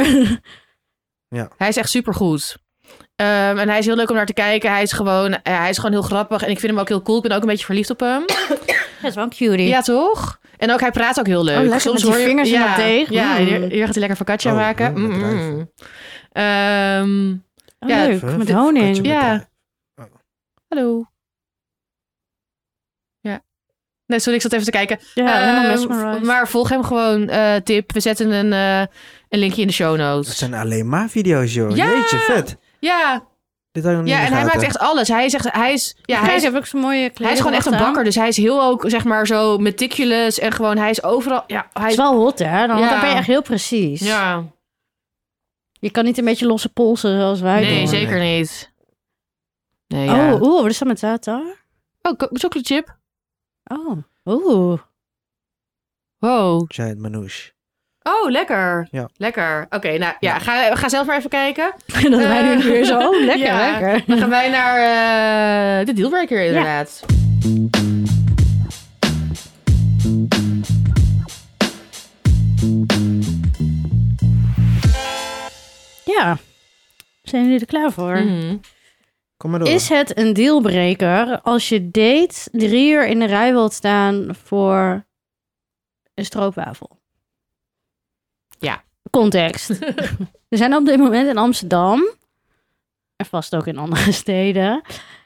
Speaker 2: hij is echt supergoed. Ehm en hij is heel leuk om naar te kijken. Hij is, gewoon, eh, hij is gewoon heel grappig en ik vind hem ook heel cool. Ik ben ook een beetje verliefd op hem.
Speaker 1: Dat is wel een cutie.
Speaker 2: Ja, toch? En ook hij praat ook heel leuk.
Speaker 1: Oh, lekker met die vingers in
Speaker 2: ja,
Speaker 1: dat deeg.
Speaker 2: Ja,
Speaker 1: Mm.
Speaker 2: hier, hier gaat hij lekker focaccia
Speaker 3: Oh,
Speaker 2: maken.
Speaker 3: mm, met
Speaker 2: Mm, mm,
Speaker 3: druiven.
Speaker 2: mm. Ehm,
Speaker 1: Oh,
Speaker 2: Ja,
Speaker 1: leuk,
Speaker 3: Even
Speaker 1: met
Speaker 3: een
Speaker 1: honing.
Speaker 3: pakketje met
Speaker 2: Ja.
Speaker 3: de-
Speaker 2: hallo. Ja. Nee, sorry, ik zat even te kijken.
Speaker 1: Ja, helemaal
Speaker 2: Ehm,
Speaker 1: mesmerized.
Speaker 2: maar volg hem gewoon, eh, tip. We zetten een, eh, een linkje in de show
Speaker 3: Dat
Speaker 2: notes.
Speaker 3: zijn alleen maar video's, joh.
Speaker 2: Ja!
Speaker 3: Jeetje, vet.
Speaker 2: Ja,
Speaker 3: Dit had ik nog niet
Speaker 2: ja
Speaker 3: in
Speaker 2: en
Speaker 3: de
Speaker 2: hij
Speaker 3: gaten.
Speaker 2: maakt echt alles. Hij is echt, hij is, ja,
Speaker 1: Kijk,
Speaker 2: hij is,
Speaker 1: heb ik zo'n mooie kleding.
Speaker 2: hij is gewoon echt een
Speaker 1: aan.
Speaker 2: bakker. Dus hij is heel ook, zeg maar, zo meticulous. En gewoon, hij is overal, ja, hij
Speaker 1: Het is
Speaker 2: is...
Speaker 1: wel hot, hè? Dan, want
Speaker 2: Ja.
Speaker 1: dan ben je echt heel precies.
Speaker 2: Ja,
Speaker 1: Je kan niet een beetje losse polsen zoals wij
Speaker 2: nee,
Speaker 1: doen.
Speaker 2: zeker niet. Nee, ja.
Speaker 1: Oh, oeh, wat is dat met tartar?
Speaker 2: Oh, co- chocolate chip.
Speaker 1: Oh, oeh.
Speaker 2: Wow.
Speaker 3: Giant Manouche.
Speaker 2: Oh, lekker.
Speaker 3: Ja.
Speaker 2: Lekker. Oké, nou ja, ga, ga zelf maar even kijken.
Speaker 1: dat wij nu
Speaker 2: Eh,
Speaker 1: weer zo, oh, lekker,
Speaker 2: ja.
Speaker 1: lekker.
Speaker 2: Dan gaan wij naar eh, de dealbreaker inderdaad.
Speaker 1: Ja, zijn jullie er klaar voor?
Speaker 2: Mhm.
Speaker 3: Kom maar door.
Speaker 1: Mm. Is het een dealbreaker als je date drie uur in de rij wilt staan voor een stroopwafel?
Speaker 2: Ja.
Speaker 1: Context. er zijn op dit moment in Amsterdam, en vast ook in andere steden,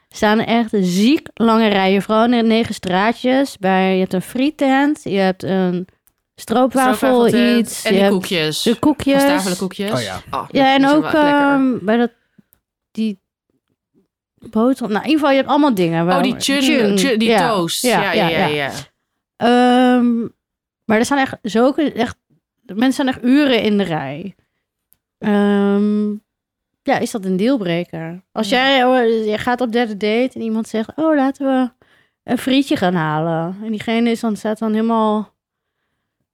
Speaker 1: staan er echt ziek lange rijen. Vooral in negen straatjes. Bij, je hebt een frietent, je hebt een stroopwafel,
Speaker 2: Stroopwafeltent.
Speaker 1: iets.
Speaker 2: eh, En
Speaker 1: je
Speaker 2: die
Speaker 1: hebt
Speaker 2: koekjes.
Speaker 1: de koekjes.
Speaker 2: Van koekjes.
Speaker 3: Oh ja.
Speaker 1: Ja, en
Speaker 2: die zijn
Speaker 1: ook
Speaker 2: wel echt lekker.
Speaker 1: ehm, bij dat die boterham. Nou, in ieder geval, je hebt allemaal dingen.
Speaker 2: oh,
Speaker 1: waar-
Speaker 2: die chun, chun- die toast. Ja, ja, ja. ja.
Speaker 1: Ehm, maar er staan echt zulke, echt, de mensen staan echt uren in de rij. Ehm, ja, is dat een dealbreaker? Als
Speaker 2: Ja.
Speaker 1: jij oh, je gaat op derde date en iemand zegt, oh, laten we een frietje gaan halen. En diegene is dan, staat dan helemaal,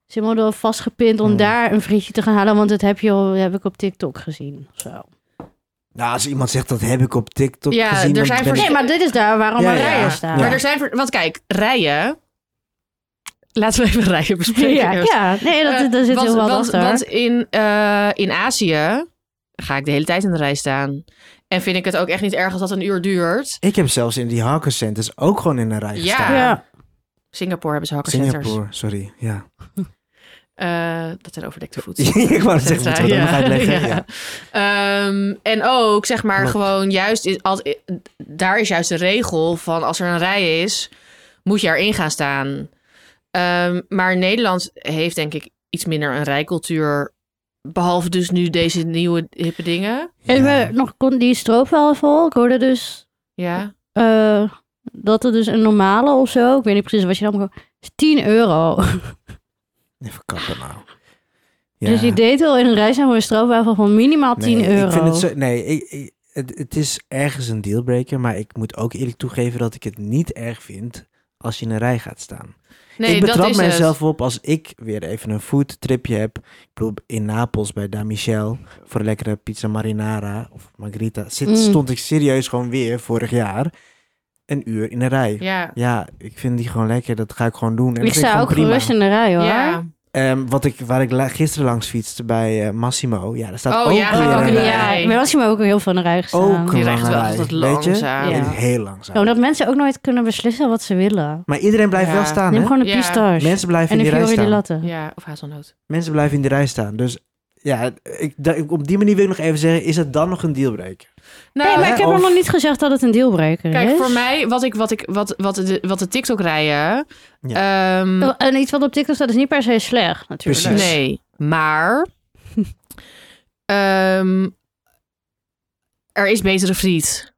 Speaker 1: is helemaal door vastgepind om
Speaker 3: Hmm.
Speaker 1: daar een frietje te gaan halen, want dat heb, je al, heb ik op TikTok gezien. of Zo.
Speaker 3: Nou, als iemand zegt dat heb ik op TikTok
Speaker 2: Ja,
Speaker 3: gezien...
Speaker 2: er
Speaker 3: dan
Speaker 2: zijn
Speaker 3: ben
Speaker 2: vers-
Speaker 3: ik-
Speaker 1: Nee, maar dit is daar waar allemaal
Speaker 3: Ja, ja.
Speaker 1: rijen staan.
Speaker 2: Maar er zijn... ver- Want kijk, rijen... Laten we even rijen bespreken.
Speaker 1: ja, ja, nee, dat,
Speaker 2: Eh,
Speaker 1: daar zit
Speaker 2: want,
Speaker 1: heel wat
Speaker 2: want,
Speaker 1: achter.
Speaker 2: Want in, eh, in Azië ga ik de hele tijd in de rij staan. En vind ik het ook echt niet erg als dat een uur duurt.
Speaker 3: Ik heb zelfs in die hawkercenters ook gewoon in een rij
Speaker 2: Ja.
Speaker 3: gestaan.
Speaker 1: ja.
Speaker 2: Singapore hebben ze hawkercenters.
Speaker 3: Singapore, sorry. Ja.
Speaker 2: Eh, dat zijn overdekte voeten.
Speaker 3: ik wou het
Speaker 2: Dat
Speaker 3: zeggen, moeten we
Speaker 2: zei-
Speaker 3: dat nog uitleggen? Ja.
Speaker 2: Ehm, en ook, zeg maar,
Speaker 3: Klopt.
Speaker 2: gewoon juist... Is, als, daar is juist de regel van als er een rij is, moet je erin gaan staan. Ehm, maar Nederland heeft denk ik iets minder een rijcultuur. Behalve dus nu deze nieuwe hippe dingen.
Speaker 1: En
Speaker 3: Ja.
Speaker 1: we nog kon die stroopwafel. Ik hoorde dus
Speaker 2: Ja.
Speaker 1: eh, dat er dus een normale of zo, ik weet niet precies wat je dan is 10 euro.
Speaker 3: Even kappen nou. Ja.
Speaker 1: Dus die date wil in een rij zijn voor een stroopwafel van minimaal 10
Speaker 3: nee,
Speaker 1: euro.
Speaker 3: Ik vind het zo, nee, ik, ik- het, het is ergens een dealbreaker, maar ik moet ook eerlijk toegeven dat ik het niet erg vind als je in een rij gaat staan.
Speaker 2: Nee,
Speaker 3: ik
Speaker 2: dat
Speaker 3: betrap
Speaker 2: is
Speaker 3: mijzelf
Speaker 2: het.
Speaker 3: op als ik weer even een foodtripje heb. Ik bedoel, in Napels bij Da Michel voor een lekkere pizza marinara of margherita zit,
Speaker 1: Mm.
Speaker 3: stond ik serieus gewoon weer vorig jaar een uur in een rij.
Speaker 2: Ja.
Speaker 3: Ja, ik vind die gewoon lekker. Dat ga ik gewoon doen. En dat
Speaker 1: ik
Speaker 3: vind ik
Speaker 1: sta
Speaker 3: gewoon
Speaker 1: ook
Speaker 3: prima.
Speaker 1: gerust in de rij hoor.
Speaker 2: Ja.
Speaker 3: Ehm, wat ik, waar ik la- gisteren langs fietste bij eh, Massimo. Ja, daar staat
Speaker 2: Oh,
Speaker 3: ook
Speaker 2: ja,
Speaker 3: weer
Speaker 2: ook
Speaker 1: Ja,
Speaker 3: een
Speaker 2: in de
Speaker 3: rij.
Speaker 1: ja,
Speaker 2: rij.
Speaker 1: ik ben als je me ook heel veel in de rij gestaan.
Speaker 3: Ook een
Speaker 2: Die recht
Speaker 3: lange
Speaker 2: wel
Speaker 3: rij.
Speaker 2: altijd
Speaker 3: Weet je?
Speaker 2: langzaam.
Speaker 1: Ja.
Speaker 3: Heel langzaam.
Speaker 1: Ja, omdat mensen ook nooit kunnen beslissen wat ze willen.
Speaker 3: Maar iedereen blijft
Speaker 2: Ja.
Speaker 3: wel staan,
Speaker 1: Neem
Speaker 3: hè?
Speaker 1: gewoon een
Speaker 2: Ja.
Speaker 1: pistache
Speaker 3: Mensen blijven
Speaker 1: en
Speaker 3: in
Speaker 1: een
Speaker 3: die rij
Speaker 1: fiori di
Speaker 3: staan.
Speaker 1: latte.
Speaker 2: ja, of hazelnoot.
Speaker 3: Mensen blijven in die rij staan. Dus ja, ik, da- ik- op die manier wil ik nog even zeggen, is het dan nog een dealbreaker?
Speaker 2: Nou,
Speaker 1: nee, maar
Speaker 3: hè,
Speaker 1: ik heb
Speaker 3: of-
Speaker 1: nog niet gezegd dat het een dealbreaker is.
Speaker 2: kijk, voor mij, wat, ik, wat, ik, wat, wat, de, wat de TikTok rijden... ehm,
Speaker 1: Wel, En iets wat op TikTok staat is niet per se slecht, natuurlijk.
Speaker 3: Precies.
Speaker 2: Nee, maar... ehm, er is betere friet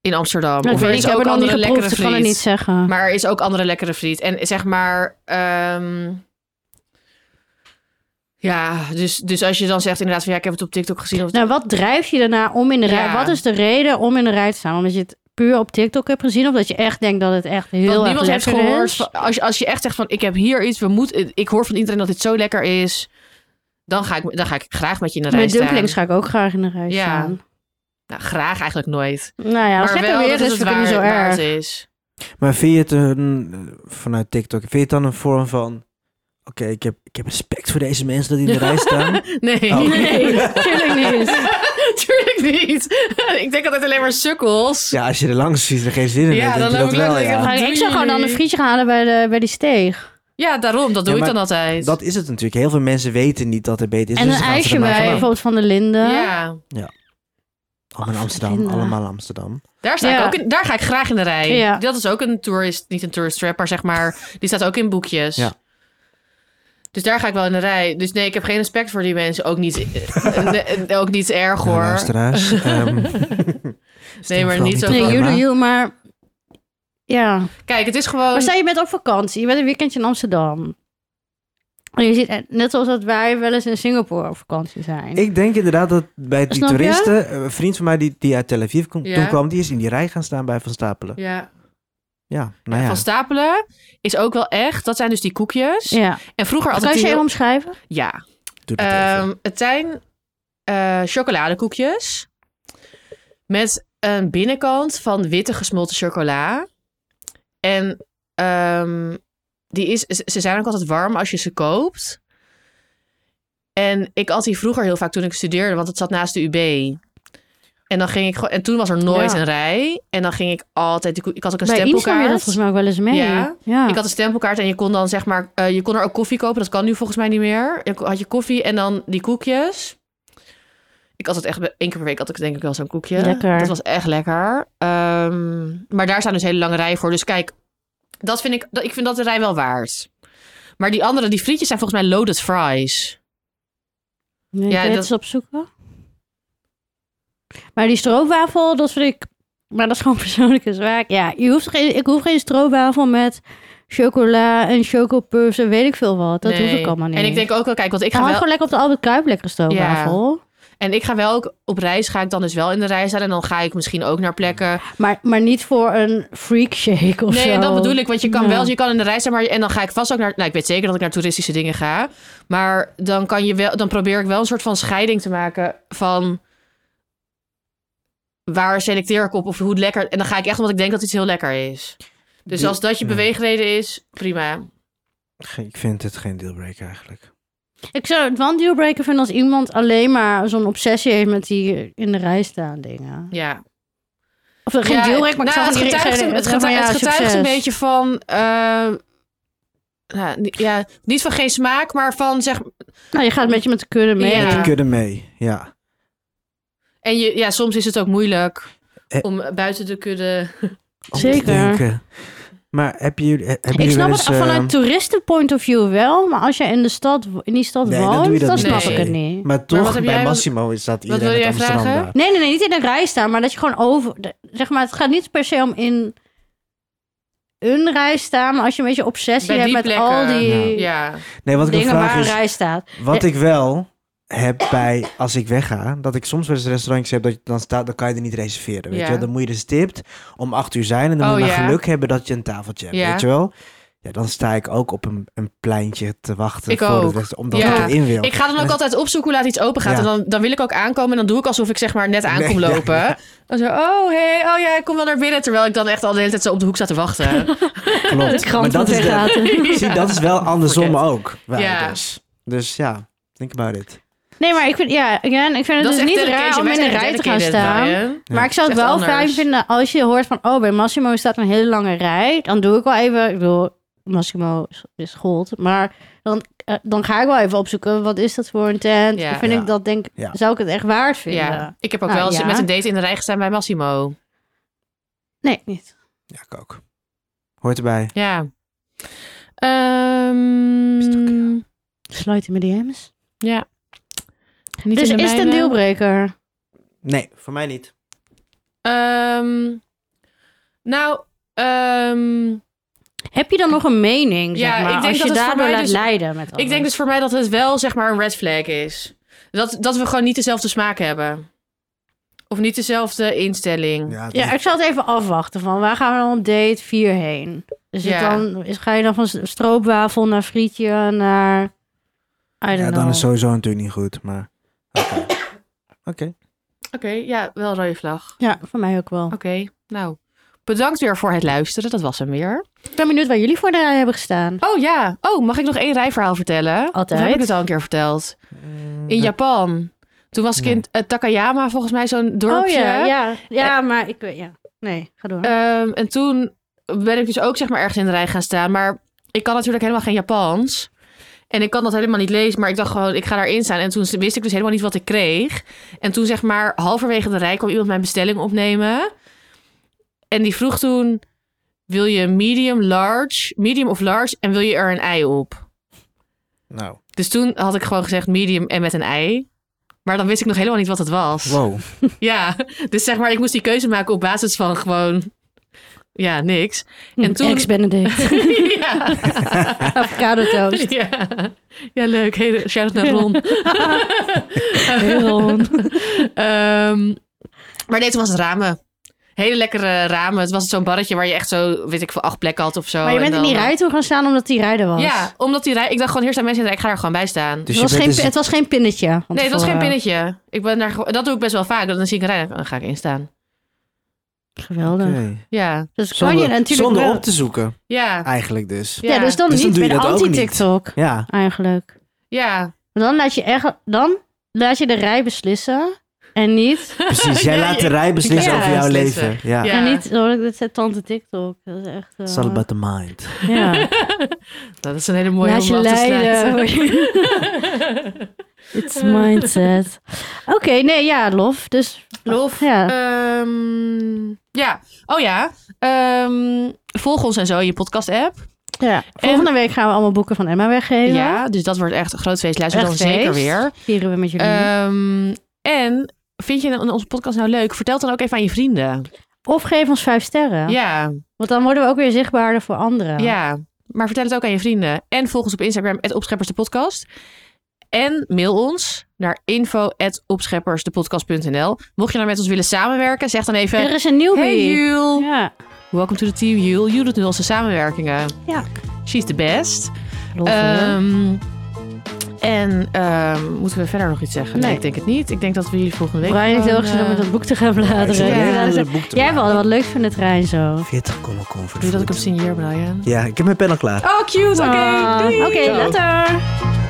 Speaker 2: in Amsterdam.
Speaker 1: Ik
Speaker 2: of er
Speaker 1: weet niet,
Speaker 2: is
Speaker 1: ik heb
Speaker 2: ook
Speaker 1: het nog niet
Speaker 2: andere lekkere
Speaker 1: geproefd, ik kan het
Speaker 2: friet.
Speaker 1: niet zeggen.
Speaker 2: Maar er is ook andere lekkere friet. En zeg maar... ehm, ja, dus, dus als je dan zegt inderdaad van... Ja, ik heb het op TikTok gezien. Of,
Speaker 1: Nou, wat drijft je daarna om in de rij?
Speaker 2: Ja.
Speaker 1: Wat is de reden om in de rij te staan? Omdat je het puur op TikTok hebt gezien? Of dat je echt denkt dat het echt heel
Speaker 2: Want
Speaker 1: erg
Speaker 2: niemand heeft
Speaker 1: lekker
Speaker 2: gehoord.
Speaker 1: is?
Speaker 2: van- als, je, als je echt zegt van ik heb hier iets, we moeten. ik hoor van iedereen dat dit zo lekker is. Dan ga ik, dan ga ik graag met je in de rij
Speaker 1: Met
Speaker 2: staan.
Speaker 1: dumplings ga ik ook graag in de rij
Speaker 2: Ja.
Speaker 1: staan.
Speaker 2: Nou, graag eigenlijk nooit.
Speaker 1: Nou ja, als
Speaker 2: maar
Speaker 1: het
Speaker 2: wel
Speaker 1: lekker weer
Speaker 2: dat
Speaker 1: is,
Speaker 2: het
Speaker 1: vind ik het niet
Speaker 2: waar,
Speaker 1: zo
Speaker 2: waar het
Speaker 1: erg.
Speaker 2: is.
Speaker 3: Maar vind je het een, vanuit TikTok, vind je het dan een vorm van... Oké, ik, heb, ik heb respect voor deze mensen dat die in de rij staan.
Speaker 2: Nee.
Speaker 3: Oh.
Speaker 1: Nee, natuurlijk niet.
Speaker 2: Tuurlijk niet. ik denk altijd alleen maar sukkels.
Speaker 3: Ja, als je er langs ziet en er geen zin in
Speaker 2: Ja,
Speaker 3: hebt,
Speaker 2: dan
Speaker 3: denk je
Speaker 2: ook
Speaker 3: dat wel,
Speaker 2: letterlijk
Speaker 3: ja.
Speaker 2: een-
Speaker 1: Maar
Speaker 2: doe
Speaker 1: ik zou
Speaker 2: je
Speaker 1: gewoon dan een
Speaker 2: niet?
Speaker 1: frietje gaan halen bij de, bij die steeg.
Speaker 2: Ja, daarom. Dat doe
Speaker 3: Ja,
Speaker 2: ik
Speaker 3: maar
Speaker 2: dan altijd.
Speaker 3: Dat is het natuurlijk. Heel veel mensen weten niet dat het beter is.
Speaker 1: en
Speaker 3: dus
Speaker 1: een
Speaker 3: dan gaan ze
Speaker 1: ijsje
Speaker 3: er maar
Speaker 1: bij,
Speaker 3: vanaf.
Speaker 1: bijvoorbeeld van de Linden.
Speaker 2: ja.
Speaker 3: Allemaal in "Oh, Amsterdam,
Speaker 1: Linda.
Speaker 3: allemaal Amsterdam.
Speaker 2: Daar, sta
Speaker 1: Ja.
Speaker 2: ik ook in, daar ga ik graag in de rij.
Speaker 1: Ja.
Speaker 2: Dat is ook een tourist, niet een tourist trap, maar zeg maar, die staat ook in boekjes.
Speaker 3: Ja.
Speaker 2: Dus daar ga ik wel in de rij. Dus nee, ik heb geen respect voor die mensen. Ook niet, eh, nee, eh, ook niet erg
Speaker 3: Nou,
Speaker 2: hoor.
Speaker 3: luisteraars. ehm, stem vooral
Speaker 2: niet zo-
Speaker 3: op
Speaker 2: Programma.
Speaker 1: Nee, you
Speaker 3: Emma.
Speaker 1: do you, maar... Ja.
Speaker 2: Kijk, het is gewoon.
Speaker 1: Maar stel, je bent op vakantie. Je bent een weekendje in Amsterdam. En je ziet, eh, net zoals dat wij wel eens in Singapore op vakantie zijn.
Speaker 3: Ik denk inderdaad dat bij die
Speaker 1: Snap je?
Speaker 3: toeristen... eh, Een vriend van mij die, die uit Tel Aviv kom-
Speaker 2: Ja.
Speaker 3: toen kwam, die is in die rij gaan staan bij Van Stapelen.
Speaker 2: ja.
Speaker 3: Ja, nou ja.
Speaker 2: Van Stapelen is ook wel echt. Dat zijn dus die koekjes.
Speaker 1: ja.
Speaker 2: En vroeger
Speaker 1: Kan
Speaker 2: altijd.
Speaker 1: je ze
Speaker 2: die-
Speaker 1: even omschrijven?
Speaker 2: ja.
Speaker 3: Doe dat even.
Speaker 2: Ehm, het zijn eh, chocoladekoekjes met een binnenkant van witte gesmolten chocola. En ehm, die is, ze ze zijn ook altijd warm als je ze koopt. En ik at die vroeger heel vaak toen ik studeerde, want het zat naast de UB. En, dan ging ik, gewoon- en toen was er nooit
Speaker 1: Ja.
Speaker 2: een rij. En dan ging ik altijd... die koe- Ik had ook een
Speaker 1: Bij Insta
Speaker 2: stempelkaart.
Speaker 1: je dat volgens mij ook wel eens mee.
Speaker 2: Ja.
Speaker 1: ja.
Speaker 2: Ik had een stempelkaart en je kon dan zeg maar, eh, je kon er ook koffie kopen. Dat kan nu volgens mij niet meer. Je ko- had je koffie en dan die koekjes. Ik had het echt, één keer per week had ik denk ik wel zo'n koekje.
Speaker 1: Lekker.
Speaker 2: Dat was echt lekker. Ehm, maar daar staan dus hele lange rijen voor. Dus kijk, dat vind ik, dat, ik vind dat de rij wel waard. Maar die andere, die frietjes zijn volgens mij loaded fries.
Speaker 1: Nee,
Speaker 2: Ja,
Speaker 1: ja, dat
Speaker 2: dat-
Speaker 1: is opzoeken. Maar die stroopwafel, dat vind ik... Maar dat is gewoon persoonlijke zaak. Ja, je hoeft geen, ik hoef geen stroopwafel met chocola en chocopuffs en weet ik veel wat. Dat hoef
Speaker 2: Nee.
Speaker 1: ik allemaal niet.
Speaker 2: En ik denk ook wel, kijk, want ik
Speaker 1: Ga
Speaker 2: ga wel,
Speaker 1: gewoon lekker op de Albert Kuip lekkere stroopwafel.
Speaker 2: en ik ga wel ook op reis, ga ik dan dus wel in de rij staan. En dan ga ik misschien ook naar plekken
Speaker 1: Maar, maar niet voor een freak shake of
Speaker 2: nee,
Speaker 1: zo.
Speaker 2: en dat bedoel ik. Want je kan
Speaker 1: Ja.
Speaker 2: wel, je kan in de rij zijn, maar en dan ga ik vast ook naar. Nou, ik weet zeker dat ik naar toeristische dingen ga, maar dan kan je wel, dan probeer ik wel een soort van scheiding te maken van waar selecteer ik op of hoe lekker. En dan ga ik echt omdat ik denk dat iets heel lekker is. Dus
Speaker 3: Die-
Speaker 2: als dat je
Speaker 3: ja.
Speaker 2: beweegreden is, prima.
Speaker 3: Ge- Ik vind het geen dealbreaker eigenlijk.
Speaker 1: Ik zou het wel een dealbreaker vinden als iemand alleen maar zo'n obsessie heeft met die in de rij staan dingen.
Speaker 2: Ja.
Speaker 1: Of geen
Speaker 2: ja,
Speaker 1: dealbreaker, maar
Speaker 2: nou,
Speaker 1: ik zou
Speaker 2: het
Speaker 1: gewoon
Speaker 2: getuigt,
Speaker 1: iedereen-
Speaker 2: een, het
Speaker 1: zeggen van,
Speaker 2: getuigt,
Speaker 1: ja,
Speaker 2: het getuigt een
Speaker 1: succes.
Speaker 2: beetje van. eh, nou, ni- ja, niet van geen smaak, maar van zeg.
Speaker 1: Nou, je gaat een beetje met de kudde mee.
Speaker 2: Ja.
Speaker 3: Met de kudde mee, ja.
Speaker 2: En je, ja, soms is het ook moeilijk
Speaker 3: Eh.
Speaker 2: om buiten te kunnen.
Speaker 3: Om te
Speaker 1: Zeker.
Speaker 3: denken. Maar hebben jullie, he- hebben
Speaker 1: Ik
Speaker 3: jullie
Speaker 1: snap
Speaker 3: wel
Speaker 1: het
Speaker 3: eens... ehm,
Speaker 1: vanuit toeristen point of view wel, maar als je in, de stad, in die stad
Speaker 3: Nee, dan
Speaker 1: woont,
Speaker 3: doe je dat
Speaker 1: dan
Speaker 3: niet
Speaker 1: snap
Speaker 2: per
Speaker 1: ik het
Speaker 3: se.
Speaker 1: niet.
Speaker 3: Maar
Speaker 2: wat
Speaker 3: toch,
Speaker 2: heb
Speaker 3: bij
Speaker 2: jij-
Speaker 3: Massimo is dat iedereen
Speaker 2: wil
Speaker 3: uit
Speaker 2: jij
Speaker 3: Amsterdam
Speaker 2: vragen?
Speaker 3: daar.
Speaker 1: Nee, nee, nee, niet in een rij staan, maar dat je gewoon over... de- Zeg maar, het gaat niet per se om in een rij staan, maar als je een beetje obsessie
Speaker 2: Bij
Speaker 1: hebt
Speaker 2: die
Speaker 1: met
Speaker 2: plekken.
Speaker 1: al die
Speaker 2: Ja.
Speaker 3: Nee, wat ik wil
Speaker 1: dingen waar
Speaker 3: vragen
Speaker 1: een
Speaker 3: is...
Speaker 1: rij staat.
Speaker 3: Wat
Speaker 2: Eh.
Speaker 3: ik wel heb bij, als ik wegga, dat ik soms wel eens restaurantjes heb, dat je dan staat, dan kan je er niet reserveren, weet
Speaker 2: Ja.
Speaker 3: je wel. Dan moet je dus stipt om acht uur zijn en dan
Speaker 2: Oh,
Speaker 3: moet je maar
Speaker 2: ja.
Speaker 3: geluk hebben dat je een tafeltje hebt,
Speaker 2: Ja.
Speaker 3: weet je wel. Ja, dan sta ik ook op een, een pleintje te wachten
Speaker 2: Ik
Speaker 3: voor
Speaker 2: ook.
Speaker 3: het restaurant, omdat
Speaker 2: Ja.
Speaker 3: ik erin wil.
Speaker 2: Ik ga dan ook
Speaker 3: En-
Speaker 2: altijd opzoeken hoe laat iets open gaat.
Speaker 3: Ja.
Speaker 2: En dan, dan wil ik ook aankomen. En dan doe ik alsof ik zeg maar net aan
Speaker 3: Nee,
Speaker 2: kom
Speaker 3: ja,
Speaker 2: lopen. Dan zo, oh hey, oh ja, ik kom wel naar binnen. Terwijl ik dan echt al de hele tijd zo op de hoek zat te wachten.
Speaker 1: De
Speaker 3: Klopt. Maar
Speaker 1: krant
Speaker 3: dat
Speaker 1: moet
Speaker 3: is, de,
Speaker 1: weglaten.
Speaker 3: zie, dat is wel andersom
Speaker 2: Forget.
Speaker 3: ook. waar
Speaker 2: Ja.
Speaker 3: Dus. dus ja, think about it.
Speaker 1: Nee, maar ik vind, ja, again, ik vind het dus niet raar om in een rij te gaan staan. Maar ik zou het
Speaker 2: Is echt
Speaker 1: wel
Speaker 2: anders.
Speaker 1: fijn vinden als je hoort van... oh, bij Massimo staat een hele lange rij. Dan doe ik wel even... Ik bedoel, Massimo is- is gold. Maar dan, eh, dan ga ik wel even opzoeken... wat is dat voor een tent?
Speaker 2: Ja.
Speaker 1: vind
Speaker 3: Ja.
Speaker 1: ik dat denk...
Speaker 3: Ja.
Speaker 1: Zou ik het echt waard vinden?
Speaker 2: Ja, ik heb ook
Speaker 1: Nou,
Speaker 2: wel eens
Speaker 1: ja.
Speaker 2: met een date in de rij gestaan bij Massimo.
Speaker 1: Nee, niet.
Speaker 3: Ja, ik ook. Hoort erbij.
Speaker 2: Ja. Ehm,
Speaker 3: Is het ook, ja.
Speaker 1: Sluit in mijn DM's.
Speaker 2: niet
Speaker 1: dus
Speaker 2: in de
Speaker 1: is het een
Speaker 2: mijne.
Speaker 1: dealbreaker?
Speaker 3: Nee, voor mij niet.
Speaker 2: Ehm, nou, ehm,
Speaker 1: Heb je dan nog een mening,
Speaker 2: Ja,
Speaker 1: zeg maar,
Speaker 2: ik denk
Speaker 1: als
Speaker 2: dat
Speaker 1: je
Speaker 2: het voor
Speaker 1: daardoor
Speaker 2: mij
Speaker 1: laat
Speaker 2: dus-
Speaker 1: leiden? Met
Speaker 2: ik denk dus voor mij dat het wel zeg maar een red flag is. Dat, dat we gewoon niet dezelfde smaak hebben. Of niet dezelfde instelling.
Speaker 3: Ja,
Speaker 1: Ja, ik zal het even afwachten van waar gaan we dan op date 4 heen? Is het
Speaker 2: Ja.
Speaker 1: dan, is, ga je dan van s- stroopwafel naar frietje naar... I don't
Speaker 3: ja,
Speaker 1: know.
Speaker 3: dan is sowieso natuurlijk niet goed, maar... Oké. Oké.
Speaker 2: Oké. ja, wel rode vlag.
Speaker 1: Ja, voor mij ook wel.
Speaker 2: Oké, nou. Bedankt weer voor het luisteren. Dat was hem weer.
Speaker 1: Ik ben benieuwd waar jullie voor de rij hebben gestaan.
Speaker 2: Oh ja. Oh, mag ik nog één rijverhaal vertellen?
Speaker 1: Altijd.
Speaker 2: Of heb ik het al een keer verteld? In
Speaker 3: ja.
Speaker 2: Japan. Toen was ik in eh, Takayama, volgens mij zo'n dorpje.
Speaker 1: Oh ja, ja. Ja, maar ik weet... Ja. Nee, ga door.
Speaker 2: Ehm, en toen ben ik dus ook zeg maar ergens in de rij gaan staan. Maar ik kan natuurlijk helemaal geen Japans. En ik kan dat helemaal niet lezen. Maar ik dacht gewoon, ik ga daarin staan. En toen wist ik dus helemaal niet wat ik kreeg. En toen zeg maar halverwege de rij kwam iemand mijn bestelling opnemen. En die vroeg toen, wil je medium, large, medium of large? En wil je er een ei op?
Speaker 3: Nou,
Speaker 2: Dus toen had ik gewoon gezegd medium en met een ei. Maar dan wist ik nog helemaal niet wat het was.
Speaker 3: wow.
Speaker 2: Ja, dus zeg maar, ik moest die keuze maken op basis van gewoon... Ja, niks.
Speaker 1: Hm,
Speaker 2: en toen-
Speaker 1: Ex-Benedict.
Speaker 2: ja.
Speaker 1: Avocado toast.
Speaker 2: ja. Ja, leuk. Hey, shout-out naar Ron.
Speaker 1: Ron.
Speaker 2: Ehm, maar nee, toen was het ramen. Hele lekkere ramen. Het was zo'n barretje waar je echt zo, weet ik veel, acht plekken had of zo.
Speaker 1: Maar je
Speaker 2: En
Speaker 1: bent in
Speaker 2: dan-
Speaker 1: die rij toe gaan staan omdat die rijder was.
Speaker 2: Ja, omdat die rij... Ik dacht gewoon, hier staan mensen in de rij, ik ga er gewoon bij staan.
Speaker 3: Dus
Speaker 1: het,
Speaker 3: je
Speaker 1: was
Speaker 3: bent
Speaker 1: geen,
Speaker 3: dus-
Speaker 1: het was geen pinnetje. eh, van
Speaker 2: Nee, het was geen
Speaker 1: tevoren.
Speaker 2: pinnetje. Ik ben daar, gewoon- dat doe ik best wel vaak. Dan zie ik een rij en dan ga ik instaan.
Speaker 1: Geweldig.
Speaker 3: Oké.
Speaker 2: Ja,
Speaker 1: Dus kan je
Speaker 3: Zonder,
Speaker 1: natuurlijk
Speaker 3: zonder
Speaker 1: wel.
Speaker 3: op te zoeken,
Speaker 2: ja,
Speaker 3: eigenlijk dus.
Speaker 1: Ja,
Speaker 2: Ja.
Speaker 1: dus dan
Speaker 3: Dus dan
Speaker 1: niet.
Speaker 3: doe je
Speaker 1: bij de
Speaker 3: dat ook niet.
Speaker 1: anti-TikTok
Speaker 3: Ja,
Speaker 1: eigenlijk.
Speaker 2: ja.
Speaker 1: Maar Dan laat je echt... Dan laat je de rij beslissen. En niet...
Speaker 3: precies. Jij
Speaker 2: Ja,
Speaker 3: laat de
Speaker 2: ja.
Speaker 3: rij beslissen
Speaker 2: Ja,
Speaker 3: over jouw
Speaker 2: beslissen.
Speaker 3: leven. Ja.
Speaker 2: Ja.
Speaker 1: En niet... Oh, dit zet tante TikTok. Dat is echt... eh,
Speaker 3: It's all about the mind.
Speaker 1: Ja.
Speaker 2: Dat is een hele mooie
Speaker 1: Laat je
Speaker 2: om af te
Speaker 1: leiden.
Speaker 2: sluiten.
Speaker 1: It's mindset. Oké, nee, ja, lof. Dus...
Speaker 2: Lof. Eh,
Speaker 1: Ja.
Speaker 2: Ehm, ja. Oh ja. Ehm, volg ons en zo in je podcast-app.
Speaker 1: ja. Volgende week gaan we allemaal boeken van Emma weggeven.
Speaker 2: Ja, dus dat wordt echt een groot feest. Luister
Speaker 1: Echt
Speaker 2: dan zeker
Speaker 1: feest.
Speaker 2: weer.
Speaker 1: Vieren we met jullie.
Speaker 2: Ehm, en vind je nou- onze podcast nou leuk? Vertel het dan ook even aan je vrienden.
Speaker 1: of geef ons vijf sterren.
Speaker 2: Ja,
Speaker 1: Want dan worden we ook weer zichtbaarder voor anderen.
Speaker 2: ja. Maar vertel het ook aan je vrienden. En volg ons op Instagram, Opscheppers de Podcast. En mail ons naar info.opscheppersdepodcast.nl. Mocht je nou met ons willen samenwerken, zeg dan even...
Speaker 1: Er is een nieuwbie.
Speaker 2: Hey Jule.
Speaker 1: Ja.
Speaker 2: Welcome to the team Jule. Jule doet nu onze samenwerkingen.
Speaker 1: Ja.
Speaker 2: She's the best.
Speaker 1: Lof, hoor.
Speaker 2: Ehm, en ehm, moeten we verder nog iets zeggen? Nee,
Speaker 1: Nee.
Speaker 2: ik denk het niet. Ik denk dat we jullie volgende week
Speaker 1: Brian heeft heel
Speaker 2: gewoon,
Speaker 1: erg zin om
Speaker 2: eh,
Speaker 1: met dat boek te gaan
Speaker 3: Ik zit
Speaker 1: bladeren.
Speaker 3: alleen
Speaker 2: Ja.
Speaker 3: maar
Speaker 1: Ja.
Speaker 3: het boek te
Speaker 1: Jij hebt
Speaker 3: maken.
Speaker 1: wel wat leuks van de trein zo.
Speaker 3: 40 kom ik comfort
Speaker 2: Doe dat ik
Speaker 3: food.
Speaker 2: hem signeer, Brian.
Speaker 3: Ja, ik heb mijn pen al klaar.
Speaker 2: Oh, cute. Oké,
Speaker 1: Ah,
Speaker 2: doei.
Speaker 1: Oké, later.
Speaker 3: Ciao.